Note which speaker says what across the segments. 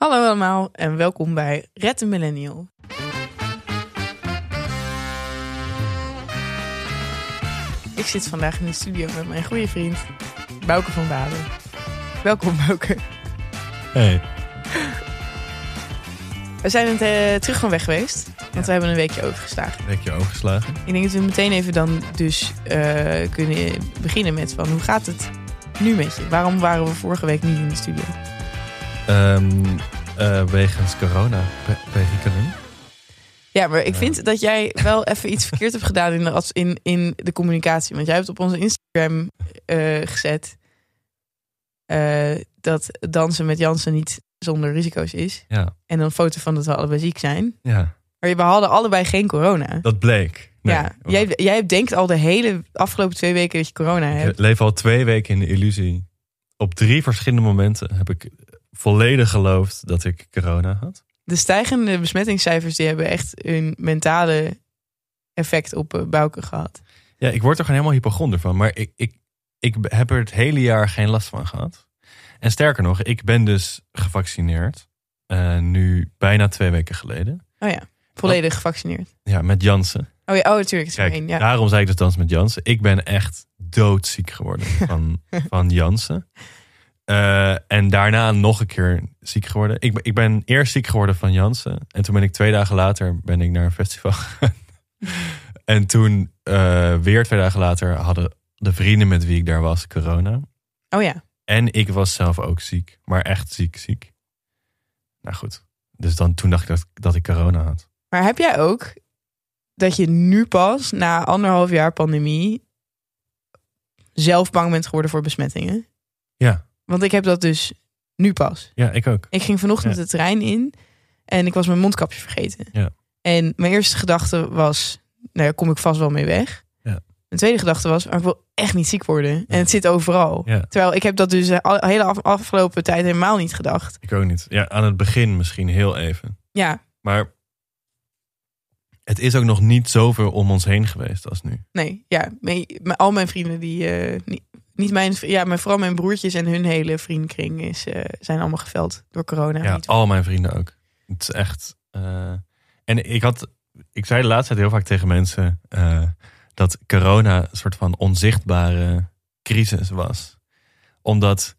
Speaker 1: Hallo allemaal en welkom bij Red de Millennial. Ik zit vandaag in de studio met mijn goede vriend Bouke van Baden. Welkom Bouke.
Speaker 2: Hey.
Speaker 1: We zijn het, eh, terug van weg geweest, want
Speaker 2: Ja.
Speaker 1: we hebben een weekje overgeslagen.
Speaker 2: Heb je overgeslagen?
Speaker 1: Ik denk dat we meteen even dan dus eh, kunnen beginnen met van hoe gaat het nu met je? Waarom waren we vorige week niet in de studio?
Speaker 2: Ehm eh, wegens corona. Be- Wegens
Speaker 1: Ja, maar ik
Speaker 2: Ja.
Speaker 1: vind dat jij wel even iets verkeerd hebt gedaan in de, als- in, in de communicatie. Want jij hebt op onze Instagram eh, gezet eh, dat dansen met Jansen niet zonder risico's is.
Speaker 2: Ja.
Speaker 1: En dan een foto van dat we allebei ziek zijn.
Speaker 2: Ja,
Speaker 1: Maar we hadden allebei geen corona.
Speaker 2: dat bleek. Nee.
Speaker 1: ja, jij, jij denkt al de hele afgelopen twee weken dat je corona
Speaker 2: Ik
Speaker 1: hebt.
Speaker 2: leef al twee weken in de illusie. Op drie verschillende momenten heb ik volledig geloofd dat ik corona had.
Speaker 1: De stijgende besmettingscijfers die hebben echt een mentale effect op eh, Bouke gehad.
Speaker 2: Ja, ik word er gewoon helemaal hypochonder van. Maar ik, ik, ik heb er het hele jaar geen last van gehad. En sterker nog, ik ben dus gevaccineerd. eh, nu bijna twee weken geleden.
Speaker 1: Oh ja, volledig gevaccineerd.
Speaker 2: Ja, met Janssen.
Speaker 1: Oh ja, oh, natuurlijk. het is maar
Speaker 2: Kijk,
Speaker 1: één, ja.
Speaker 2: daarom zei ik dus dans met Jansen. Ik ben echt doodziek geworden van, van Jansen. Eh, en daarna nog een keer ziek geworden. Ik, ben- ik ben eerst ziek geworden van Jansen. En toen ben ik twee dagen later ben ik naar een festival gegaan. En toen, eh, weer twee dagen later, hadden de vrienden met wie ik daar was corona.
Speaker 1: Oh ja.
Speaker 2: En ik was zelf ook ziek. Maar echt ziek, ziek. Nou goed. Dus dan, toen dacht ik dat, dat ik corona had.
Speaker 1: Maar heb jij ook dat je nu pas na anderhalf jaar pandemie zelf bang bent geworden voor besmettingen?
Speaker 2: Ja.
Speaker 1: Want ik heb dat dus nu pas.
Speaker 2: Ja, ik ook.
Speaker 1: Ik ging vanochtend
Speaker 2: Ja.
Speaker 1: de trein in en ik was mijn mondkapje vergeten.
Speaker 2: Ja.
Speaker 1: En mijn eerste gedachte was, nou ja, kom ik vast wel mee weg.
Speaker 2: Ja.
Speaker 1: Mijn tweede gedachte was, maar ik wil echt niet ziek worden. En het zit overal.
Speaker 2: Ja.
Speaker 1: Terwijl ik heb dat dus de al- hele af- afgelopen tijd helemaal niet gedacht.
Speaker 2: Ik ook niet. Ja, aan het begin misschien heel even.
Speaker 1: Ja,
Speaker 2: Maar het is ook nog niet zoveel om ons heen geweest als nu.
Speaker 1: Nee, ja. me- me- al mijn vrienden die. eh, niet, niet mijn, vri- ja, maar vooral mijn broertjes en hun hele vriendenkring is, eh, zijn allemaal geveld door corona.
Speaker 2: Ja,
Speaker 1: Niet-
Speaker 2: al mijn vrienden ook. Het is echt. eh, En ik had. Ik zei de laatste tijd heel vaak tegen mensen. eh, dat corona een soort van onzichtbare crisis was. Omdat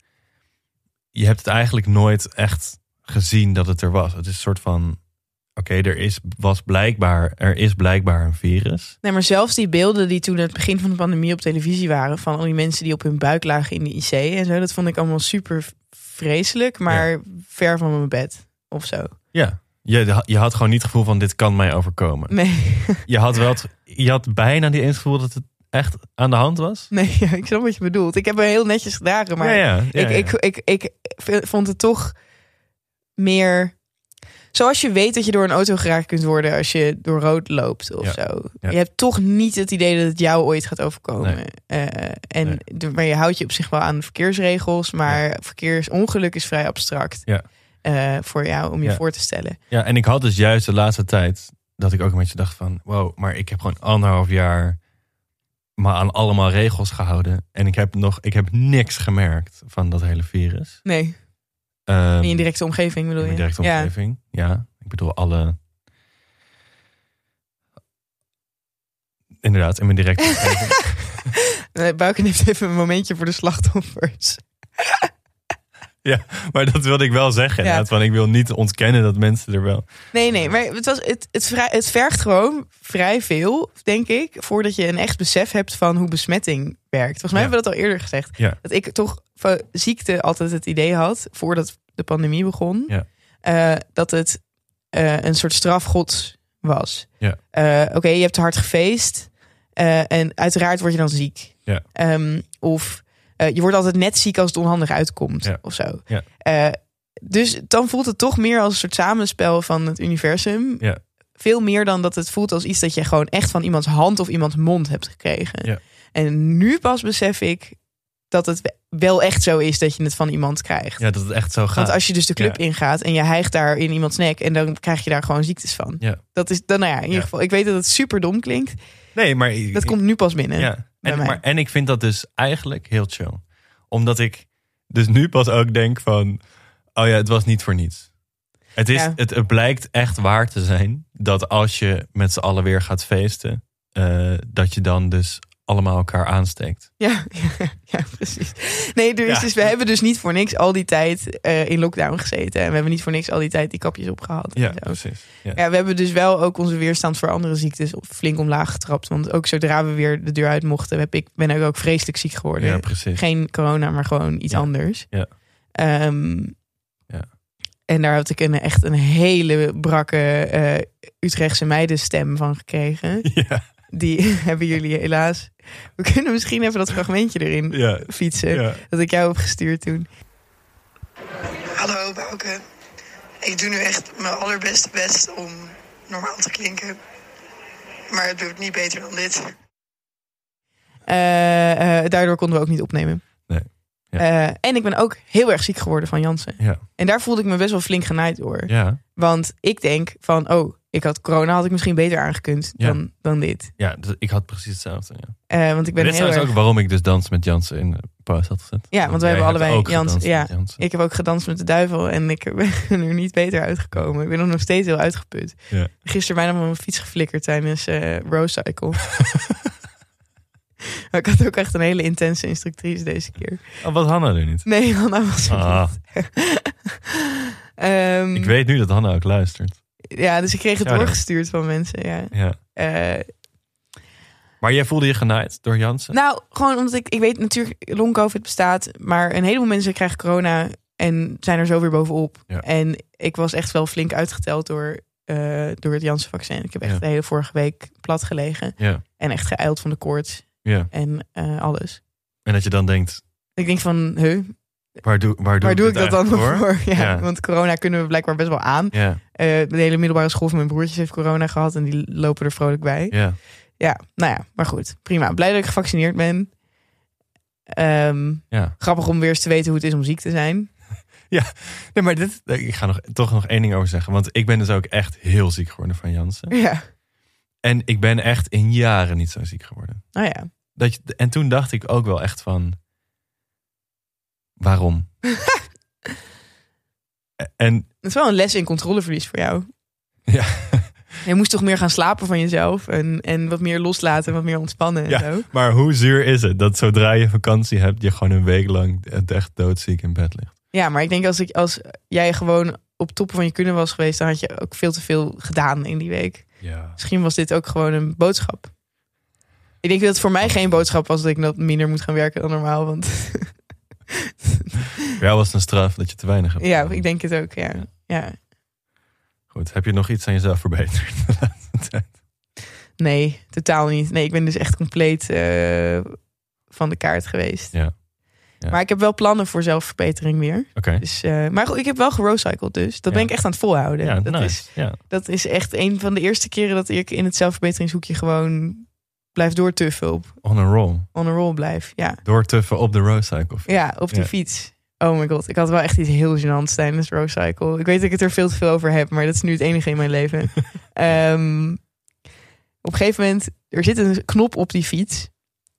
Speaker 2: je hebt het eigenlijk nooit echt gezien dat het er was. Het is een soort van. Oké, er is, was blijkbaar, er is blijkbaar een virus.
Speaker 1: Nee, maar zelfs die beelden die toen aan het begin van de pandemie op televisie waren. van al die mensen die op hun buik lagen in de IC en zo. dat vond ik allemaal super vreselijk, maar ver van mijn bed of zo.
Speaker 2: Ja, je, je had gewoon niet het gevoel van dit kan mij overkomen.
Speaker 1: Nee,
Speaker 2: Je had, wel het- je had bijna niet eens het gevoel dat het echt aan de hand was.
Speaker 1: nee ja, ik snap wat je bedoelt. Ik heb me heel netjes gedragen, maar.
Speaker 2: ja, ja, ja, ja.
Speaker 1: ik, Ik, ik, ik vond het toch meer. Zoals je weet dat je door een auto geraakt kunt worden als je door rood loopt of
Speaker 2: Ja,
Speaker 1: zo.
Speaker 2: ja.
Speaker 1: Je hebt toch niet het idee dat het jou ooit gaat overkomen.
Speaker 2: Nee.
Speaker 1: Eh, en
Speaker 2: Nee.
Speaker 1: de- maar je houdt je op zich wel aan de verkeersregels. Maar verkeersongeluk is vrij abstract
Speaker 2: Ja.
Speaker 1: eh, voor jou om je
Speaker 2: Ja.
Speaker 1: voor te stellen.
Speaker 2: ja, en ik had dus juist de laatste tijd dat ik ook een beetje dacht van... wow, maar ik heb gewoon anderhalf jaar me aan allemaal regels gehouden. En ik heb, nog, ik heb niks gemerkt van dat hele virus.
Speaker 1: Nee,
Speaker 2: Ehm,
Speaker 1: in je directe omgeving bedoel
Speaker 2: in
Speaker 1: je?
Speaker 2: mijn directe
Speaker 1: Ja.
Speaker 2: omgeving. Ja. ik bedoel alle... Inderdaad, in mijn directe omgeving.
Speaker 1: Eh, Bouken heeft even een momentje voor de slachtoffers.
Speaker 2: Maar dat wilde ik wel zeggen.
Speaker 1: Ja.
Speaker 2: inderdaad, Want ik wil niet ontkennen dat mensen er wel.
Speaker 1: Nee, nee, maar het, was, het, het, vrij, het vergt gewoon vrij veel, denk ik, voordat je een echt besef hebt van hoe besmetting werkt. Volgens mij
Speaker 2: Ja.
Speaker 1: hebben we dat al eerder gezegd.
Speaker 2: Ja.
Speaker 1: Dat ik toch van ziekte altijd het idee had, voordat de pandemie begon,
Speaker 2: Ja.
Speaker 1: eh, dat het eh, een soort strafgods was.
Speaker 2: Ja.
Speaker 1: Eh, Oké, je hebt te hard gefeest eh, en uiteraard word je dan ziek.
Speaker 2: Ja.
Speaker 1: Ehm, of eh, je wordt altijd net ziek als het onhandig uitkomt
Speaker 2: Ja.
Speaker 1: of zo.
Speaker 2: Ja.
Speaker 1: Eh, dus dan voelt het toch meer als een soort samenspel van het universum.
Speaker 2: Ja.
Speaker 1: Veel meer dan dat het voelt als iets dat je gewoon echt van iemands hand of iemands mond hebt gekregen.
Speaker 2: Ja.
Speaker 1: En nu pas besef ik dat het wel echt zo is dat je het van iemand krijgt.
Speaker 2: Ja, dat het echt zo
Speaker 1: Want
Speaker 2: gaat.
Speaker 1: als je dus de club ingaat en je hijgt daar in iemands nek en dan krijg je daar gewoon ziektes van.
Speaker 2: Ja.
Speaker 1: Dat is dan, nou ja, in ieder
Speaker 2: Ja.
Speaker 1: geval. Ik weet dat het super dom klinkt.
Speaker 2: Nee, maar.
Speaker 1: Dat komt nu pas binnen.
Speaker 2: Ja.
Speaker 1: bij
Speaker 2: En,
Speaker 1: mij.
Speaker 2: maar, en ik vind dat dus eigenlijk heel chill. Omdat ik dus nu pas ook denk van. Oh ja, het was niet voor niets. Het, is,
Speaker 1: Ja.
Speaker 2: het, het blijkt echt waar te zijn dat als je met z'n allen weer gaat feesten, eh, dat je dan dus allemaal elkaar aansteekt.
Speaker 1: Ja, ja, ja, precies. Nee, er is
Speaker 2: Ja.
Speaker 1: dus, we hebben dus niet voor niks al die tijd eh, in lockdown gezeten. En we hebben niet voor niks al die tijd die kapjes opgehaald. en
Speaker 2: Ja,
Speaker 1: zo.
Speaker 2: precies. Ja.
Speaker 1: ja, we hebben dus wel ook onze weerstand voor andere ziektes op- flink omlaag getrapt. Want ook zodra we weer de deur uit mochten, heb ik, ben ik ook vreselijk ziek geworden.
Speaker 2: Ja, precies.
Speaker 1: Geen corona, maar gewoon iets
Speaker 2: Ja.
Speaker 1: anders.
Speaker 2: Ja.
Speaker 1: Ehm,
Speaker 2: Ja.
Speaker 1: En daar had ik een, echt een hele brakke eh, Utrechtse meidenstem van gekregen.
Speaker 2: Ja,
Speaker 1: Die hebben jullie helaas. We kunnen misschien even dat fragmentje erin
Speaker 2: ja,
Speaker 1: fietsen.
Speaker 2: ja.
Speaker 1: Dat ik jou heb gestuurd toen.
Speaker 3: Hallo Bouke. Ik doe nu echt mijn allerbeste best om normaal te klinken. Maar het doet niet beter dan dit.
Speaker 1: Eh, eh, daardoor konden we ook niet opnemen.
Speaker 2: Nee, ja.
Speaker 1: Eh, en ik ben ook heel erg ziek geworden van Jansen.
Speaker 2: Ja.
Speaker 1: En daar voelde ik me best wel flink genaaid door.
Speaker 2: Ja,
Speaker 1: Want ik denk van, oh, ik had corona had ik misschien beter aangekund
Speaker 2: Ja.
Speaker 1: dan, dan dit.
Speaker 2: ja dus ik had precies hetzelfde. Ja.
Speaker 1: Eh, want ik ben
Speaker 2: Dit is
Speaker 1: heel
Speaker 2: trouwens
Speaker 1: erg...
Speaker 2: ook waarom ik dus dans met Jansen in de post had gezet.
Speaker 1: Ja, want wij
Speaker 2: jij
Speaker 1: hebben
Speaker 2: hebt
Speaker 1: allebei
Speaker 2: ook
Speaker 1: Jans-
Speaker 2: gedanst
Speaker 1: ja.
Speaker 2: met Jansen.
Speaker 1: Ik heb ook gedanst met de duivel en ik ben er niet beter uitgekomen. Ik ben nog steeds heel uitgeput.
Speaker 2: Ja.
Speaker 1: Gisteren bijna van mijn fiets geflikkerd tijdens eh Rose Cycle. maar ik had ook echt een hele intense instructrice deze keer.
Speaker 2: Oh, wat Hanna er niet.
Speaker 1: Nee, Hanna was er
Speaker 2: Ah.
Speaker 1: niet. Ehm,
Speaker 2: Ik weet nu dat Hanna ook luistert.
Speaker 1: Ja, dus ik kreeg het
Speaker 2: Shout-out.
Speaker 1: doorgestuurd van mensen. Ja.
Speaker 2: Ja.
Speaker 1: Eh,
Speaker 2: Maar jij voelde je genaaid door Jansen?
Speaker 1: nou, gewoon omdat ik, ik weet natuurlijk, long-covid bestaat. Maar een heleboel mensen krijgen corona en zijn er zo weer bovenop.
Speaker 2: Ja.
Speaker 1: En ik was echt wel flink uitgeteld door, eh, door het Janssen-vaccin. Ik heb echt
Speaker 2: Ja.
Speaker 1: de hele vorige week plat gelegen.
Speaker 2: Ja.
Speaker 1: En echt geijld van de koorts
Speaker 2: ja.
Speaker 1: en eh, alles.
Speaker 2: En dat je dan denkt,
Speaker 1: Ik denk van, huh,
Speaker 2: waar doe, waar doe,
Speaker 1: waar doe ik
Speaker 2: dit
Speaker 1: dat dan
Speaker 2: eigenlijk
Speaker 1: voor? Ja,
Speaker 2: Ja.
Speaker 1: Want corona kunnen we blijkbaar best wel aan.
Speaker 2: Ja,
Speaker 1: Eh, de hele middelbare school van mijn broertjes heeft corona gehad en die lopen er vrolijk bij. Ja,
Speaker 2: ja.
Speaker 1: nou ja, maar goed. Prima. Blij dat ik gevaccineerd ben. Ehm,
Speaker 2: Ja.
Speaker 1: grappig om weer eens te weten hoe het is om ziek te zijn.
Speaker 2: Nee, maar dit, ik ga nog, toch nog één ding over zeggen. Want ik ben dus ook echt heel ziek geworden van Jansen.
Speaker 1: Ja,
Speaker 2: En ik ben echt in jaren niet zo ziek geworden.
Speaker 1: nou ja.
Speaker 2: Dat je, en toen dacht ik ook wel echt van... Waarom? en
Speaker 1: Het is wel een les in controleverlies voor jou.
Speaker 2: Ja.
Speaker 1: Je moest toch meer gaan slapen van jezelf en, en wat meer loslaten en wat meer ontspannen en
Speaker 2: Ja.
Speaker 1: zo.
Speaker 2: Maar hoe zuur is het dat zodra je vakantie hebt, je gewoon een week lang echt doodziek in bed ligt?
Speaker 1: Ja, maar ik denk als, ik, als jij gewoon op toppen van je kunnen was geweest, dan had je ook veel te veel gedaan in die week.
Speaker 2: Ja.
Speaker 1: Misschien was dit ook gewoon een boodschap. Ik denk dat het voor mij geen boodschap was dat ik dat minder moet gaan werken dan normaal. Want
Speaker 2: Voor jou was het een straf dat je te weinig hebt.
Speaker 1: ja,
Speaker 2: gedaan.
Speaker 1: ik denk het ook. Ja.
Speaker 2: Ja.
Speaker 1: Ja.
Speaker 2: Goed, heb je nog iets aan jezelf verbeterd? de laatste tijd?
Speaker 1: Nee, totaal niet. Nee, ik ben dus echt compleet eh, van de kaart geweest.
Speaker 2: Ja. Ja.
Speaker 1: Maar ik heb wel plannen voor zelfverbetering weer.
Speaker 2: Oké.
Speaker 1: Dus, eh, maar goed, ik heb wel gerocycled dus. Dat
Speaker 2: Ja.
Speaker 1: ben ik echt aan het volhouden.
Speaker 2: Ja,
Speaker 1: dat,
Speaker 2: nice.
Speaker 1: is,
Speaker 2: Ja.
Speaker 1: dat is echt een van de eerste keren dat ik in het zelfverbeteringshoekje gewoon blijf doortuffen. Op,
Speaker 2: On a roll.
Speaker 1: on a roll blijf. Ja,
Speaker 2: Doortuffen op de roadcycle.
Speaker 1: ja op die
Speaker 2: Ja.
Speaker 1: fiets. Oh my god, ik had wel echt iets heel gênants tijdens Rocycle. Ik weet dat ik het er veel te veel over heb, maar dat is nu het enige in mijn leven. Ehm, op een gegeven moment, er zit een knop op die fiets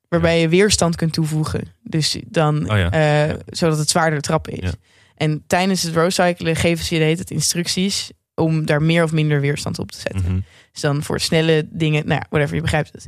Speaker 1: waarbij je weerstand kunt toevoegen. Dus dan
Speaker 2: Oh ja.
Speaker 1: eh,
Speaker 2: Ja.
Speaker 1: zodat het zwaarder de trap is.
Speaker 2: Ja.
Speaker 1: En tijdens het roadcyclen geven ze je de hele tijd instructies om daar meer of minder weerstand op te zetten.
Speaker 2: Mhm.
Speaker 1: Dus dan voor snelle dingen, nou ja, whatever, je begrijpt het.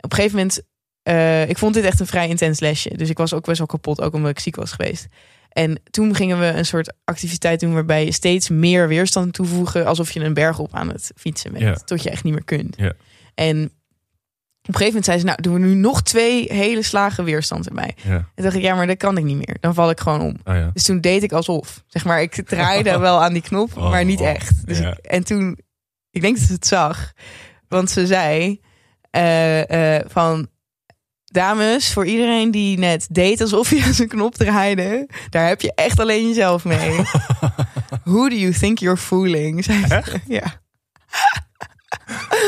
Speaker 1: Op een gegeven moment, eh, ik vond dit echt een vrij intens lesje. Dus ik was ook best wel kapot, ook omdat ik ziek was geweest. En toen gingen we een soort activiteit doen waarbij je steeds meer weerstand toevoegen. Alsof je een berg op aan het fietsen bent.
Speaker 2: Ja.
Speaker 1: Tot je echt niet meer kunt.
Speaker 2: Ja.
Speaker 1: En op een gegeven moment zei ze, nou doen we nu nog twee hele slagen weerstand erbij.
Speaker 2: Ja.
Speaker 1: En dacht ik, ja, maar dat kan ik niet meer. Dan val ik gewoon om.
Speaker 2: Oh ja.
Speaker 1: Dus toen deed ik alsof. Zeg maar, ik draaide wel aan die knop,
Speaker 2: Oh,
Speaker 1: maar niet echt. Dus
Speaker 2: ja.
Speaker 1: ik- en toen, ik denk dat ze het zag. Want ze zei eh, eh, van... Dames, voor iedereen die net deed alsof je aan zijn knop draaide... daar heb je echt alleen jezelf mee. Who do you think you're fooling? Zei ze. Ja,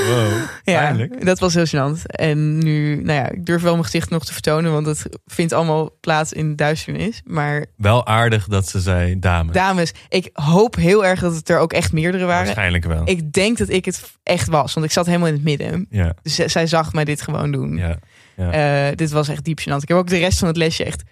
Speaker 2: Wow.
Speaker 1: ja
Speaker 2: Pijnlijk.
Speaker 1: dat was heel gênant. En nu, nou ja, ik durf wel mijn gezicht nog te vertonen... want het vindt allemaal plaats in duisternis. Maar
Speaker 2: Wel aardig dat ze zei dame.
Speaker 1: Dames, ik hoop heel erg dat het er ook echt meerdere waren.
Speaker 2: Waarschijnlijk wel.
Speaker 1: Ik denk dat ik het echt was, want ik zat helemaal in het midden.
Speaker 2: Ja.
Speaker 1: Dus zij- zij zag mij dit gewoon doen.
Speaker 2: Ja.
Speaker 1: Eh, dit was echt diep gênant. Ik heb ook de rest van het lesje echt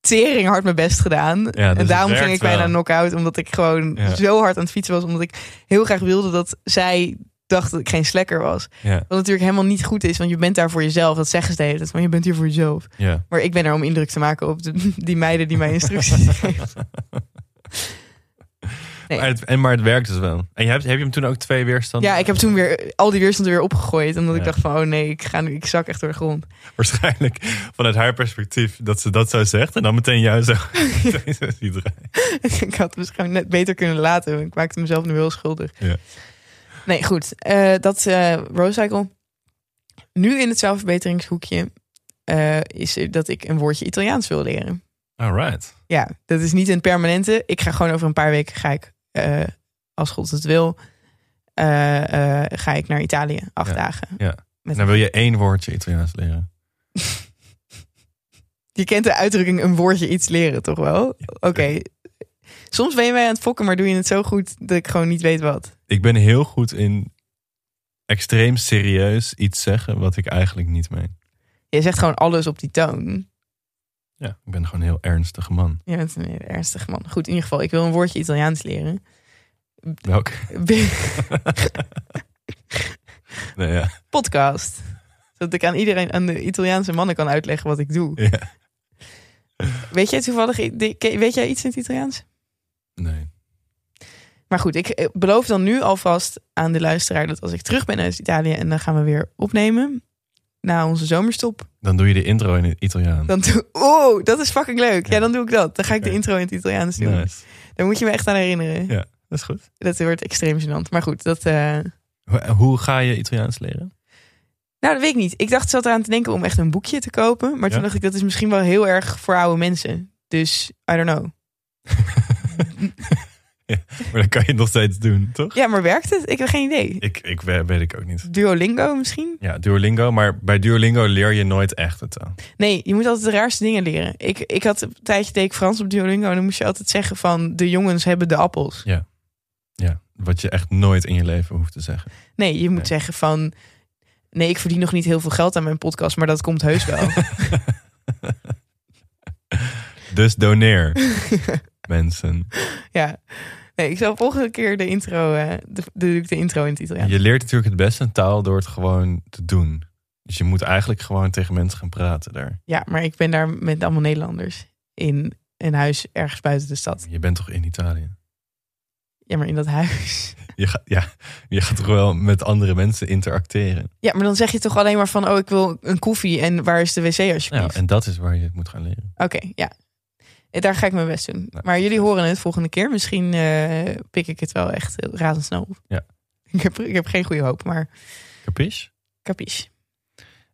Speaker 1: tering hard mijn best gedaan.
Speaker 2: dus
Speaker 1: en
Speaker 2: het
Speaker 1: daarom ging
Speaker 2: werkt
Speaker 1: ik bijna
Speaker 2: wel.
Speaker 1: knock-out. Omdat ik gewoon
Speaker 2: Ja.
Speaker 1: zo hard aan het fietsen was. Omdat ik heel graag wilde dat zij dacht dat ik geen slekker was.
Speaker 2: Ja,
Speaker 1: Wat natuurlijk helemaal niet goed is. Want je bent daar voor jezelf. Dat zeggen ze de hele tijd. Maar je bent hier voor jezelf.
Speaker 2: ja.
Speaker 1: Maar ik ben er om indruk te maken op de- die meiden die mij instructies geven. Nee.
Speaker 2: Maar, het, en, maar het werkt dus wel. En je hebt, heb je hem toen ook twee weerstanden?
Speaker 1: Ja, ik heb toen weer al die weerstand weer opgegooid. Omdat ik
Speaker 2: Ja.
Speaker 1: dacht van, oh nee, ik, ga nu, ik zak echt door de grond.
Speaker 2: Waarschijnlijk vanuit haar perspectief dat ze dat zo zegt. En dan meteen jou zo. meteen zo ziet draaien.
Speaker 1: ik had het misschien net beter kunnen laten. want Ik maakte mezelf nu heel schuldig.
Speaker 2: Ja.
Speaker 1: Nee, goed. Eh, dat eh Road Cycle. Nu in het zelfverbeteringshoekje eh, is dat ik een woordje Italiaans wil leren.
Speaker 2: Alright.
Speaker 1: Ja, dat is niet een permanente. Ik ga gewoon over een paar weken ga ik, eh, als God het wil, eh, eh, ga ik naar Italië. Acht
Speaker 2: Ja,
Speaker 1: dagen.
Speaker 2: ja.
Speaker 1: Met-
Speaker 2: En dan Nou, wil je één woordje Italiaans leren.
Speaker 1: Je kent de uitdrukking een woordje iets leren, toch wel?
Speaker 2: Ja.
Speaker 1: Oké. Soms ben je mij aan het fokken, maar doe je het zo goed dat ik gewoon niet weet wat.
Speaker 2: Ik ben heel goed in extreem serieus iets zeggen wat ik eigenlijk niet meen.
Speaker 1: Je zegt gewoon alles op die toon.
Speaker 2: Ja, ik ben gewoon een heel ernstige man.
Speaker 1: Je bent een heel ernstig man. Goed, in ieder geval, ik wil een woordje Italiaans leren.
Speaker 2: Welke? nee, ja.
Speaker 1: Podcast. Zodat ik aan iedereen, aan de Italiaanse mannen kan uitleggen wat ik doe.
Speaker 2: ja.
Speaker 1: Weet jij toevallig, weet jij iets in het Italiaans?
Speaker 2: Nee.
Speaker 1: Maar goed, ik eh, beloof dan nu alvast aan de luisteraar dat als ik terug ben uit Italië en dan gaan we weer opnemen na onze zomerstop,
Speaker 2: Dan doe je de intro in het Italiaans.
Speaker 1: dan doe oh, dat is fucking leuk. Ja, dan doe ik dat. Dan ga ik de
Speaker 2: Oké.
Speaker 1: intro in het Italiaans doen.
Speaker 2: Nice.
Speaker 1: Daar moet je me echt aan herinneren.
Speaker 2: Ja, dat is goed.
Speaker 1: Dat wordt extreem gênant. Maar goed, dat eh,
Speaker 2: Hoe, hoe ga je Italiaans leren?
Speaker 1: nou, dat weet ik niet. Ik dacht zat eraan te denken om echt een boekje te kopen, maar toen
Speaker 2: Ja?
Speaker 1: dacht ik dat is misschien wel heel erg voor oude mensen. Dus I don't know.
Speaker 2: Maar dan kan je het nog steeds doen, toch?
Speaker 1: Ja, maar werkt het? Ik heb geen idee.
Speaker 2: Ik, ik we- weet ik ook niet.
Speaker 1: Duolingo misschien?
Speaker 2: Ja, Duolingo, maar bij Duolingo leer je nooit echt het taal.
Speaker 1: Nee, je moet altijd de raarste dingen leren. Ik, ik had een tijdje deed ik Frans op Duolingo en dan moest je altijd zeggen van de jongens hebben de appels.
Speaker 2: Ja, wat je echt nooit in je leven hoeft te zeggen.
Speaker 1: Nee, je moet
Speaker 2: Nee.
Speaker 1: zeggen van nee, ik verdien nog niet heel veel geld aan mijn podcast, maar dat komt heus wel.
Speaker 2: Dus doneer, mensen.
Speaker 1: ja. Nee, ik zal volgende keer de intro, eh, de, doe ik de intro in het Italiaans.
Speaker 2: Je leert natuurlijk het beste een taal door het gewoon te doen. Dus je moet eigenlijk gewoon tegen mensen gaan praten daar.
Speaker 1: Ja, maar ik ben daar met allemaal Nederlanders in een huis ergens buiten de stad.
Speaker 2: Je bent toch in Italië?
Speaker 1: Ja, maar in dat huis.
Speaker 2: Je gaat, ja, je gaat toch wel met andere mensen interacteren.
Speaker 1: Ja, maar dan zeg je toch alleen maar van oh, ik wil een koffie en waar is de wc alsjeblieft?
Speaker 2: Ja, en dat is waar je het moet gaan leren.
Speaker 1: Oké, ja. Eh, Daar ga ik mijn best doen.
Speaker 2: Nou,
Speaker 1: maar jullie
Speaker 2: precies.
Speaker 1: horen het volgende keer. Misschien eh, pik ik het wel echt heel razendsnel op.
Speaker 2: Ja.
Speaker 1: Ik heb, ik heb geen goede hoop, maar
Speaker 2: Capiche?
Speaker 1: capiche.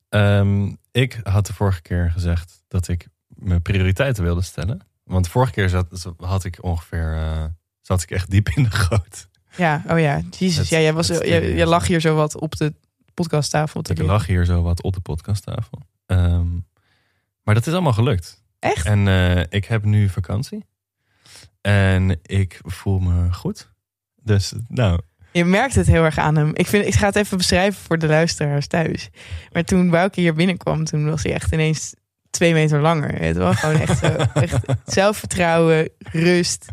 Speaker 2: Ehm, ik had de vorige keer gezegd dat ik mijn prioriteiten wilde stellen. Want vorige keer zat, had ik ongeveer, eh, zat ik echt diep in de goot.
Speaker 1: Ja, oh ja.
Speaker 2: Het-
Speaker 1: Jezus, ja, jij was,
Speaker 2: het
Speaker 1: jij,
Speaker 2: stukje
Speaker 1: jij
Speaker 2: is-
Speaker 1: lag hier zo wat op de podcasttafel. te
Speaker 2: Ik
Speaker 1: doen.
Speaker 2: lag hier zo wat op de podcasttafel. Ehm, maar dat is allemaal gelukt.
Speaker 1: Echt?
Speaker 2: En eh, ik heb nu vakantie. En ik voel me goed. Dus nou,
Speaker 1: Je merkt het heel erg aan hem. Ik, vind, ik ga het even beschrijven voor de luisteraars thuis. Maar toen Bouke hier binnenkwam, toen was hij echt ineens twee meter langer. Weet je wel? Gewoon echt, zo, echt zelfvertrouwen, rust.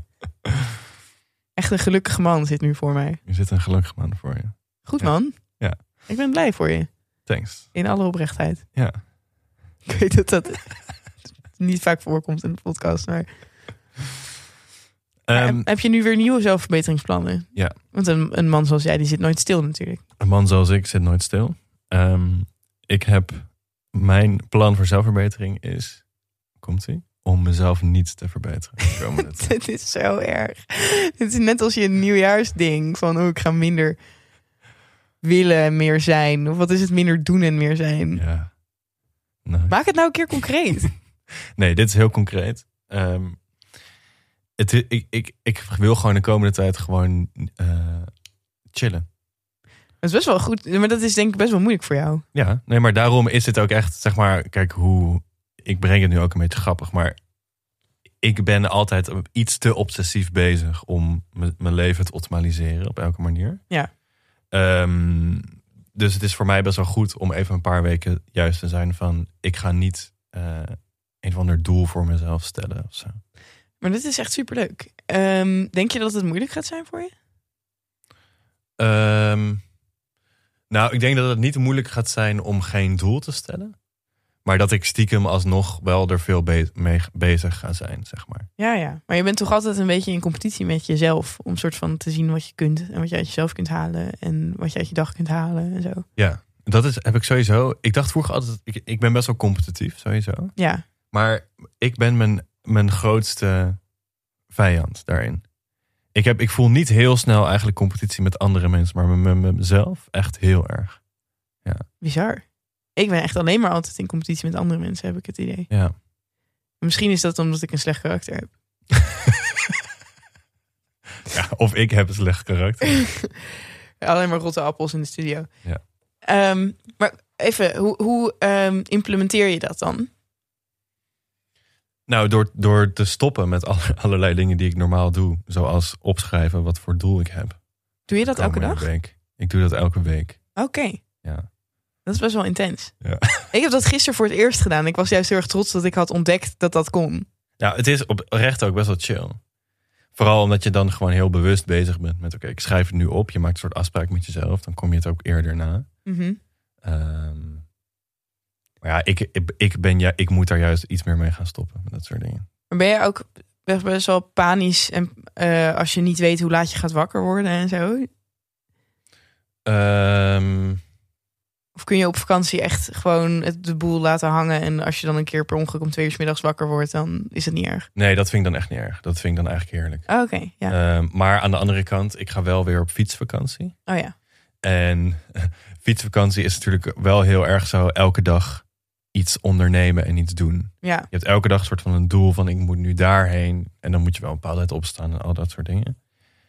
Speaker 1: Echt een gelukkige man zit nu voor mij.
Speaker 2: er zit een gelukkig man voor je.
Speaker 1: Goed
Speaker 2: Ja.
Speaker 1: man.
Speaker 2: Ja.
Speaker 1: Ik ben blij voor je.
Speaker 2: Thanks.
Speaker 1: In alle oprechtheid.
Speaker 2: Ja.
Speaker 1: Ik weet dat dat niet vaak voorkomt in de podcast. Maar Maar
Speaker 2: Ehm,
Speaker 1: heb- heb je nu weer nieuwe zelfverbeteringsplannen?
Speaker 2: Ja.
Speaker 1: Want een, een man zoals jij, die zit nooit stil natuurlijk.
Speaker 2: Een man zoals ik zit nooit stil. Ehm, ik heb mijn plan voor zelfverbetering is, komt ie, om mezelf niet te verbeteren. de komende tijd.
Speaker 1: Dit is zo erg. Dit is net als je nieuwjaarsding van oh, ik ga minder willen en meer zijn. Of wat is het minder doen en meer zijn?
Speaker 2: ja. Nee.
Speaker 1: Maak het nou een keer concreet.
Speaker 2: nee, dit is heel concreet. Ehm, het, i- ik, ik, ik wil gewoon de komende tijd gewoon eh, chillen.
Speaker 1: dat is best wel goed. Maar dat is denk ik best wel moeilijk voor jou.
Speaker 2: Ja, nee, maar daarom is het ook echt, zeg maar, kijk hoe, ik breng het nu ook een beetje grappig, maar ik ben altijd iets te obsessief bezig om m- mijn leven te optimaliseren op elke manier.
Speaker 1: Ja.
Speaker 2: Ehm, dus het is voor mij best wel goed om even een paar weken juist te zijn van, ik ga niet eh, een of ander doel voor mezelf stellen of zo.
Speaker 1: Maar dit is echt superleuk. Ehm denk je dat het moeilijk gaat zijn voor je?
Speaker 2: Ehm, nou, ik denk dat het niet moeilijk gaat zijn om geen doel te stellen. Maar dat ik stiekem alsnog wel er veel be- mee bezig ga zijn, zeg maar.
Speaker 1: Ja, ja. Maar je bent toch altijd een beetje in competitie met jezelf. Om soort van te zien wat je kunt. En wat je uit jezelf kunt halen. En wat je uit je dag kunt halen en zo.
Speaker 2: Ja, dat is, heb ik sowieso. Ik dacht vroeger altijd, ik, ik ben best wel competitief, sowieso.
Speaker 1: Ja.
Speaker 2: Maar ik ben mijn, mijn grootste vijand daarin. Ik, heb, ik voel niet heel snel eigenlijk competitie met andere mensen, maar met, met mezelf echt heel erg.
Speaker 1: Bizar. Ik ben echt alleen maar altijd in competitie met andere mensen, heb ik het idee.
Speaker 2: Ja.
Speaker 1: Misschien is dat omdat ik een slecht karakter heb.
Speaker 2: ja of ik heb een slecht karakter.
Speaker 1: alleen maar rotte appels in de studio.
Speaker 2: Ja.
Speaker 1: Ehm, maar even, hoe, hoe ehm, implementeer je dat dan?
Speaker 2: Nou, door, door te stoppen met alle- allerlei dingen die ik normaal doe. Zoals opschrijven wat voor doel ik heb.
Speaker 1: Doe je dat elke
Speaker 2: Komende
Speaker 1: dag?
Speaker 2: Week. Ik doe dat elke week.
Speaker 1: Oké.
Speaker 2: Ja.
Speaker 1: Dat is best wel intens.
Speaker 2: Ja.
Speaker 1: Ik heb dat gisteren voor het eerst gedaan. Ik was juist heel erg trots dat ik had ontdekt dat dat kon.
Speaker 2: Nou, het is oprecht ook best wel chill. Vooral omdat je dan gewoon heel bewust bezig bent met... oké, ik schrijf het nu op. Je maakt een soort afspraak met jezelf. Dan kom je het ook eerder na.
Speaker 1: Mhm.
Speaker 2: Ehm, maar ja ik, ik, ik ben, ja, ik moet daar juist iets meer mee gaan stoppen. Met dat soort dingen.
Speaker 1: Maar ben je ook best- best wel panisch en, eh, als je niet weet hoe laat je gaat wakker worden en zo?
Speaker 2: Ehm,
Speaker 1: Of kun je op vakantie echt gewoon het, de boel laten hangen en als je dan een keer per ongeluk om twee uur 's middags wakker wordt, dan is het niet erg?
Speaker 2: nee, dat vind ik dan echt niet erg. Dat vind ik dan eigenlijk heerlijk.
Speaker 1: Oh, Oké, ja.
Speaker 2: Ehm, maar aan de andere kant, ik ga wel weer op fietsvakantie.
Speaker 1: oh ja.
Speaker 2: En fietsvakantie is natuurlijk wel heel erg zo elke dag iets ondernemen en iets doen.
Speaker 1: Ja,
Speaker 2: Je hebt elke dag een soort van een doel van ik moet nu daarheen. En dan moet je wel een bepaalde tijd opstaan en al dat soort dingen.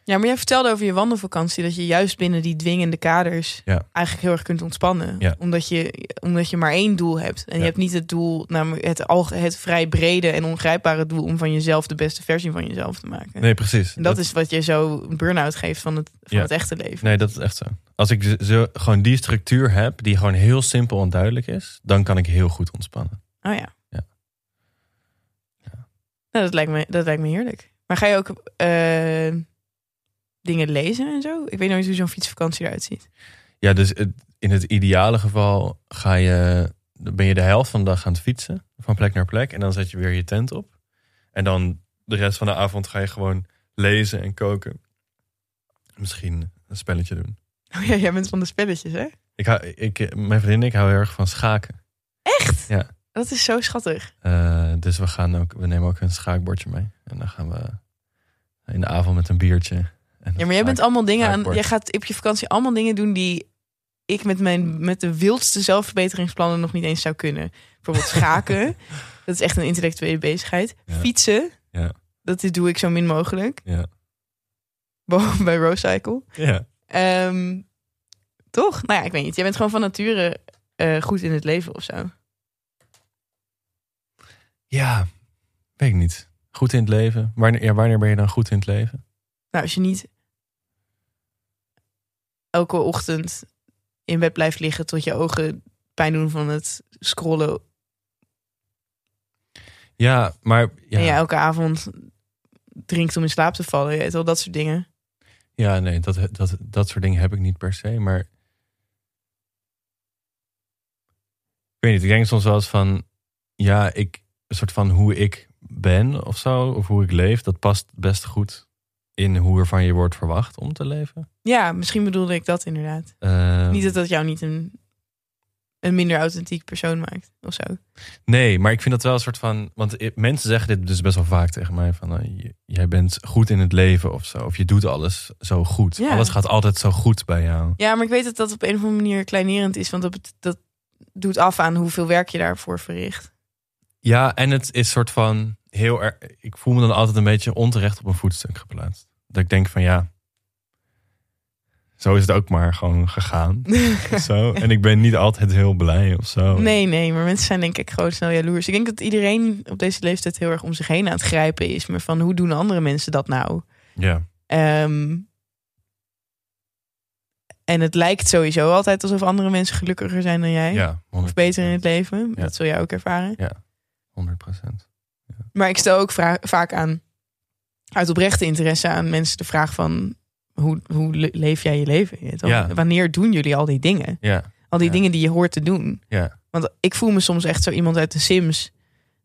Speaker 1: Ja, maar jij vertelde over je wandelvakantie dat je juist binnen die dwingende kaders
Speaker 2: Ja.
Speaker 1: eigenlijk heel erg kunt ontspannen.
Speaker 2: Ja.
Speaker 1: Omdat, je, omdat je maar één doel hebt. En je
Speaker 2: Ja.
Speaker 1: hebt niet het doel, namelijk het, alge- het vrij brede en ongrijpbare doel om van jezelf de beste versie van jezelf te maken.
Speaker 2: Nee, precies.
Speaker 1: En dat, is wat je zo een burn-out geeft van het, van
Speaker 2: Ja.
Speaker 1: het echte leven.
Speaker 2: Nee, dat is echt zo. Als ik zo, gewoon die structuur heb, die gewoon heel simpel en duidelijk is, dan kan ik heel goed ontspannen.
Speaker 1: Oh ja.
Speaker 2: Ja.
Speaker 1: Nou, dat lijkt me, dat lijkt me heerlijk. Maar ga je ook eh, dingen lezen en zo? Ik weet nooit hoe zo'n fietsvakantie eruit ziet.
Speaker 2: Ja, dus het- in het ideale geval ga je, dan ben je de helft van de dag aan het fietsen, van plek naar plek. En dan zet je weer je tent op. En dan de rest van de avond ga je gewoon lezen en koken. Misschien een spelletje doen.
Speaker 1: Oh ja, jij bent van de spelletjes, hè?
Speaker 2: Ik hou, ik, mijn vriendin en ik houden heel erg van schaken.
Speaker 1: Echt?
Speaker 2: Ja.
Speaker 1: Dat is zo schattig.
Speaker 2: Eh, dus we, gaan ook, we nemen ook een schaakbordje mee. En dan gaan we in de avond met een biertje. en
Speaker 1: Ja, maar jij bent allemaal dingen aan.
Speaker 2: haakbord.
Speaker 1: Jij gaat op je vakantie allemaal dingen doen die ik met, mijn, met de wildste zelfverbeteringsplannen nog niet eens zou kunnen. Bijvoorbeeld schaken. dat is echt een intellectuele bezigheid.
Speaker 2: Ja.
Speaker 1: Fietsen.
Speaker 2: Ja.
Speaker 1: Dat doe ik zo min mogelijk.
Speaker 2: Ja.
Speaker 1: Behalve bij Roadcycle.
Speaker 2: Ja.
Speaker 1: Ehm, toch? Nou ja, ik weet niet. Jij bent gewoon van nature eh, goed in het leven of zo. Nou,
Speaker 2: Ja, weet ik niet. Goed in het leven. Wanneer, ja, wanneer ben je dan goed in het leven?
Speaker 1: Nou, als je niet elke ochtend in bed blijft liggen tot je ogen pijn doen van het scrollen.
Speaker 2: Ja, maar ja,
Speaker 1: En je
Speaker 2: ja.
Speaker 1: elke avond drinkt om in slaap te vallen. Je weet wel, dat soort dingen.
Speaker 2: nee, dat, dat, dat soort dingen heb ik niet per se. Maar ik weet niet, ik denk soms wel eens van, ja, ik, een soort van hoe ik ben of zo, of hoe ik leef, dat past best goed in hoe er van je wordt verwacht om te leven.
Speaker 1: Ja, misschien bedoelde ik dat inderdaad.
Speaker 2: Ehm,
Speaker 1: Niet dat dat jou niet een, een minder authentiek persoon maakt of zo.
Speaker 2: Nee, maar ik vind dat wel een soort van. Want i- mensen zeggen dit dus best wel vaak tegen mij: van eh, j- jij bent goed in het leven of zo. Of je doet alles zo goed.
Speaker 1: Ja.
Speaker 2: Alles gaat altijd zo goed bij jou.
Speaker 1: Ja, maar ik weet dat dat op een of andere manier kleinerend is. Want dat, bet- dat doet af aan hoeveel werk je daarvoor verricht.
Speaker 2: Ja, en het is soort van heel erg. Ik voel me dan altijd een beetje onterecht op een voetstuk geplaatst. Dat ik denk van ja. Zo is het ook maar gewoon gegaan. of zo. En ik ben niet altijd heel blij of zo.
Speaker 1: Nee, nee, maar mensen zijn denk ik gewoon snel jaloers. Ik denk dat iedereen op deze leeftijd heel erg om zich heen aan het grijpen is. Maar van hoe doen andere mensen dat nou?
Speaker 2: Ja.
Speaker 1: Ehm, en het lijkt sowieso altijd alsof andere mensen gelukkiger zijn dan jij.
Speaker 2: ja 100%.
Speaker 1: Of beter in het leven.
Speaker 2: Ja.
Speaker 1: Dat zul jij ook ervaren.
Speaker 2: Ja, 100 procent.
Speaker 1: Maar ik stel ook vra- vaak aan, uit oprechte interesse aan mensen de vraag van... Hoe, hoe le- leef jij je leven? Je weet wel?
Speaker 2: Ja.
Speaker 1: Wanneer doen jullie al die dingen?
Speaker 2: Ja,
Speaker 1: Al die
Speaker 2: Ja.
Speaker 1: dingen die je hoort te doen.
Speaker 2: ja,
Speaker 1: Want ik voel me soms echt zo iemand uit de Sims...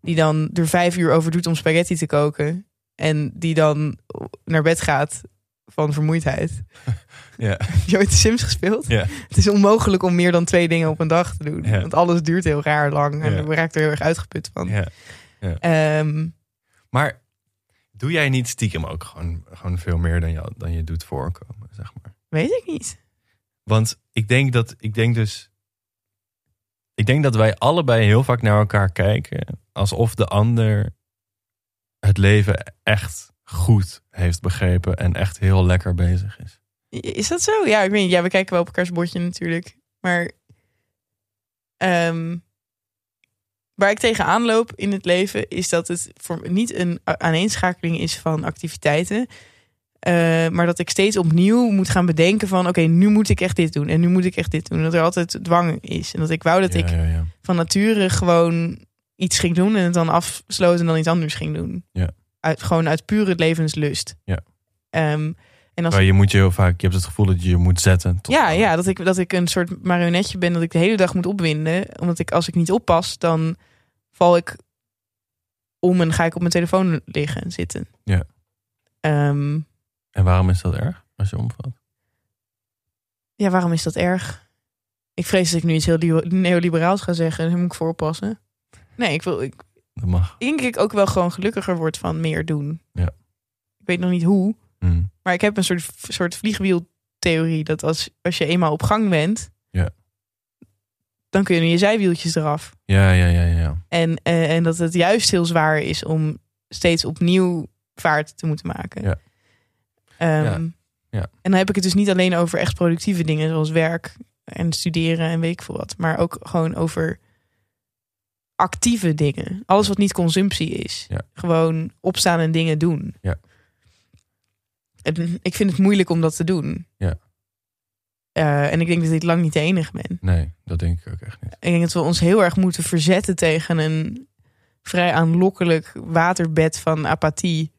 Speaker 1: die dan er vijf uur over doet om spaghetti te koken... en die dan naar bed gaat van vermoeidheid.
Speaker 2: ja,
Speaker 1: Heb je ooit de Sims gespeeld?
Speaker 2: ja.
Speaker 1: Het is onmogelijk om meer dan twee dingen op een dag te doen.
Speaker 2: Ja.
Speaker 1: Want alles duurt heel raar lang en
Speaker 2: Ja.
Speaker 1: we raken er heel erg uitgeput van.
Speaker 2: ja.
Speaker 1: Ehm,
Speaker 2: Maar doe jij niet stiekem ook gewoon, gewoon veel meer dan je, dan je doet voorkomen, zeg maar?
Speaker 1: weet ik niet.
Speaker 2: Want ik denk dat, ik denk dus, ik denk dat wij allebei heel vaak naar elkaar kijken alsof de ander het leven echt goed heeft begrepen en echt heel lekker bezig is.
Speaker 1: I- Is dat zo? Ja, ik weet niet. Ja, we kijken wel op elkaars bordje natuurlijk. Maar ehm, waar ik tegenaan loop in het leven is dat het voor me niet een a- aaneenschakeling is van activiteiten. Eh, maar dat ik steeds opnieuw moet gaan bedenken van... oké, nu moet ik echt dit doen en nu moet ik echt dit doen. Dat er altijd dwang is. En dat ik wou dat
Speaker 2: ja,
Speaker 1: ik
Speaker 2: ja, ja.
Speaker 1: van nature gewoon iets ging doen en het dan afsloot en dan iets anders ging doen.
Speaker 2: Ja.
Speaker 1: Uit, gewoon uit pure levenslust.
Speaker 2: Ja.
Speaker 1: Ehm, en als
Speaker 2: Maar je moet je heel vaak, je hebt het gevoel dat je je moet zetten. tot-
Speaker 1: ja, ja dat, ik, dat ik een soort marionetje ben dat ik de hele dag moet opwinden. Omdat ik als ik niet oppas, dan val ik om en ga ik op mijn telefoon liggen en zitten.
Speaker 2: Ja.
Speaker 1: Ehm,
Speaker 2: En waarom is dat erg als je omvalt?
Speaker 1: ja, waarom is dat erg? Ik vrees dat ik nu iets heel libe- neoliberaals ga zeggen. Daar moet ik voor oppassen. Nee, ik, wil, ik,
Speaker 2: Dat mag.
Speaker 1: denk ik ook wel gewoon gelukkiger word van meer doen.
Speaker 2: Ja.
Speaker 1: Ik weet nog niet hoe,
Speaker 2: Hm.
Speaker 1: maar ik heb een soort, soort vliegwieltheorie dat als, als je eenmaal op gang bent,
Speaker 2: Ja.
Speaker 1: dan kunnen je zijwieltjes eraf.
Speaker 2: Ja, ja, ja, ja.
Speaker 1: En, eh, en dat het juist heel zwaar is om steeds opnieuw vaart te moeten maken.
Speaker 2: Ja.
Speaker 1: Ehm,
Speaker 2: Ja. Ja.
Speaker 1: En dan heb ik het dus niet alleen over echt productieve dingen zoals werk en studeren en weet ik veel wat, maar ook gewoon over actieve dingen. Alles wat niet consumptie is.
Speaker 2: Ja.
Speaker 1: Gewoon opstaan en dingen doen.
Speaker 2: Ja.
Speaker 1: En ik vind het moeilijk om dat te doen.
Speaker 2: Ja.
Speaker 1: Eh, en ik denk dat ik lang niet de enige ben.
Speaker 2: Nee, dat denk ik ook echt niet.
Speaker 1: Ik denk dat we ons heel erg moeten verzetten tegen een vrij aanlokkelijk waterbed van apathie.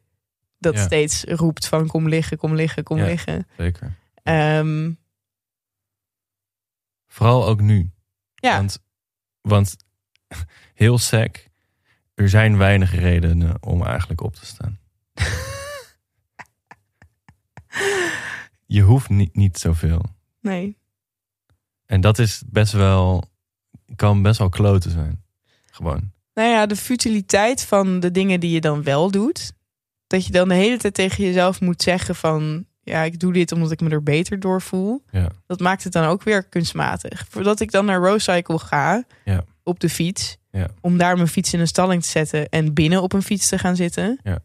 Speaker 1: Dat
Speaker 2: Ja.
Speaker 1: steeds roept van kom liggen, kom liggen, kom
Speaker 2: Ja.
Speaker 1: liggen.
Speaker 2: Zeker.
Speaker 1: Ehm,
Speaker 2: Vooral ook nu.
Speaker 1: ja,
Speaker 2: Want, want heel sec, er zijn weinig redenen om eigenlijk op te staan. je hoeft niet, niet zoveel.
Speaker 1: nee.
Speaker 2: En dat is best wel, kan best wel kloten zijn. Gewoon.
Speaker 1: Nou ja, de futiliteit van de dingen die je dan wel doet. Dat je dan de hele tijd tegen jezelf moet zeggen van... ja, ik doe dit omdat ik me er beter door voel.
Speaker 2: Ja.
Speaker 1: Dat maakt het dan ook weer kunstmatig. Voordat ik dan naar Roadcycle ga
Speaker 2: Ja.
Speaker 1: op de fiets...
Speaker 2: Ja.
Speaker 1: om daar mijn fiets in een stalling te zetten... en binnen op een fiets te gaan zitten.
Speaker 2: Ja.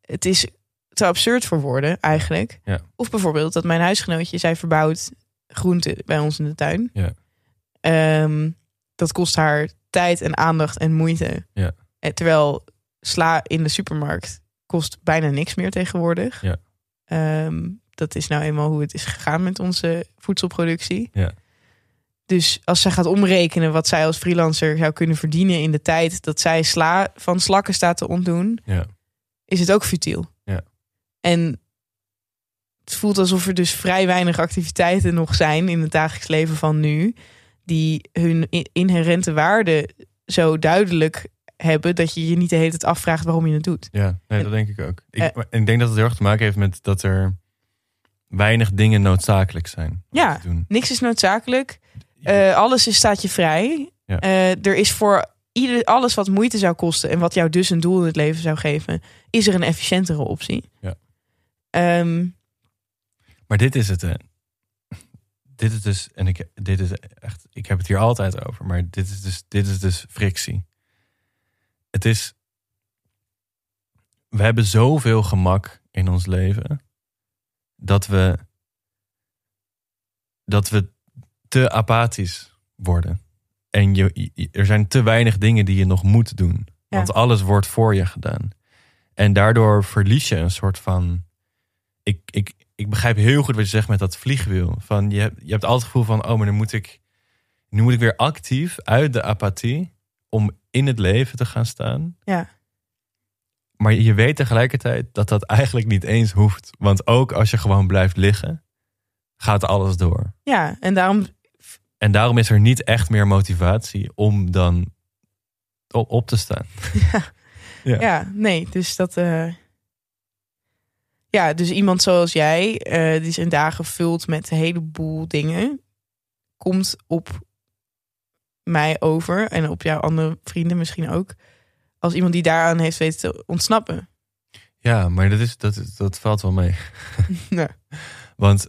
Speaker 1: Het is te absurd voor woorden eigenlijk.
Speaker 2: Ja.
Speaker 1: Of bijvoorbeeld dat mijn huisgenootje... zij verbouwt groenten bij ons in de tuin.
Speaker 2: Ja.
Speaker 1: Ehm, dat kost haar tijd en aandacht en moeite.
Speaker 2: Ja.
Speaker 1: En terwijl sla in de supermarkt kost bijna niks meer tegenwoordig.
Speaker 2: Ja.
Speaker 1: Ehm, dat is nou eenmaal hoe het is gegaan met onze voedselproductie.
Speaker 2: Ja.
Speaker 1: Dus als zij gaat omrekenen wat zij als freelancer zou kunnen verdienen in de tijd dat zij sla van slakken staat te ontdoen,
Speaker 2: Ja.
Speaker 1: is het ook futiel.
Speaker 2: Ja.
Speaker 1: En het voelt alsof er dus vrij weinig activiteiten nog zijn in het dagelijks leven van nu, die hun i- inherente waarde zo duidelijk hebben dat je je niet de hele tijd afvraagt waarom je het doet.
Speaker 2: Ja, nee,
Speaker 1: En-
Speaker 2: dat denk ik ook. Ik,
Speaker 1: Eh.
Speaker 2: maar ik denk dat het heel erg te maken heeft met dat er weinig dingen noodzakelijk zijn. om
Speaker 1: Ja.
Speaker 2: te doen.
Speaker 1: Niks is noodzakelijk. Eh, alles is, staat je vrij.
Speaker 2: Ja.
Speaker 1: Eh, er is voor ieder, alles wat moeite zou kosten en wat jou dus een doel in het leven zou geven, is er een efficiëntere optie.
Speaker 2: Ja.
Speaker 1: Ehm,
Speaker 2: Maar dit is het. Hè. Dit is dus, en ik, dit is echt, ik heb het hier altijd over, maar dit is dus, dit is dus frictie. Het is. We hebben zoveel gemak in ons leven dat we. dat we te apathisch worden. En je, je- er zijn te weinig dingen die je nog moet doen.
Speaker 1: Ja.
Speaker 2: Want alles wordt voor je gedaan. En daardoor verlies je een soort van ik, ik, ik begrijp heel goed wat je zegt met dat vliegwiel. Van je, hebt- je hebt altijd het gevoel van, oh, maar nu moet ik, nu moet ik weer actief uit de apathie om in het leven te gaan staan.
Speaker 1: Ja.
Speaker 2: Maar je weet tegelijkertijd dat dat eigenlijk niet eens hoeft. Want ook als je gewoon blijft liggen, gaat alles door.
Speaker 1: Ja, en daarom
Speaker 2: En daarom is er niet echt meer motivatie om dan o- op te staan. Ja.
Speaker 1: Ja, nee, dus dat. eh, Ja, dus iemand zoals jij, eh, die zijn dagen vult met een heleboel dingen, komt op mij over en op jouw andere vrienden misschien ook, als iemand die daaraan heeft weten te ontsnappen.
Speaker 2: Ja, maar dat, is, dat, is- dat valt wel mee.
Speaker 1: Nee.
Speaker 2: Want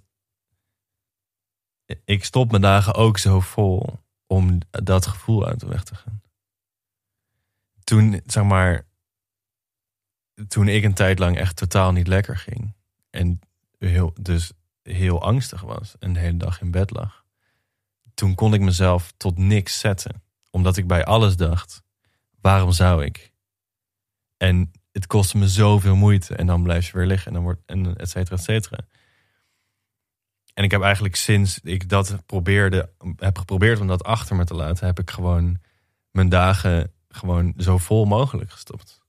Speaker 2: ik stop mijn dagen ook zo vol om dat gevoel uit de weg te gaan. Toen, zeg maar, toen ik een tijd lang echt totaal niet lekker ging. En heel, dus heel angstig was en de hele dag in bed lag. Toen kon ik mezelf tot niks zetten. Omdat ik bij alles dacht, waarom zou ik? En het kostte me zoveel moeite. En dan blijf je weer liggen. En dan wordt, en et cetera, et cetera. En ik heb eigenlijk sinds ik dat probeerde, heb geprobeerd om dat achter me te laten, heb ik gewoon mijn dagen gewoon zo vol mogelijk gestopt.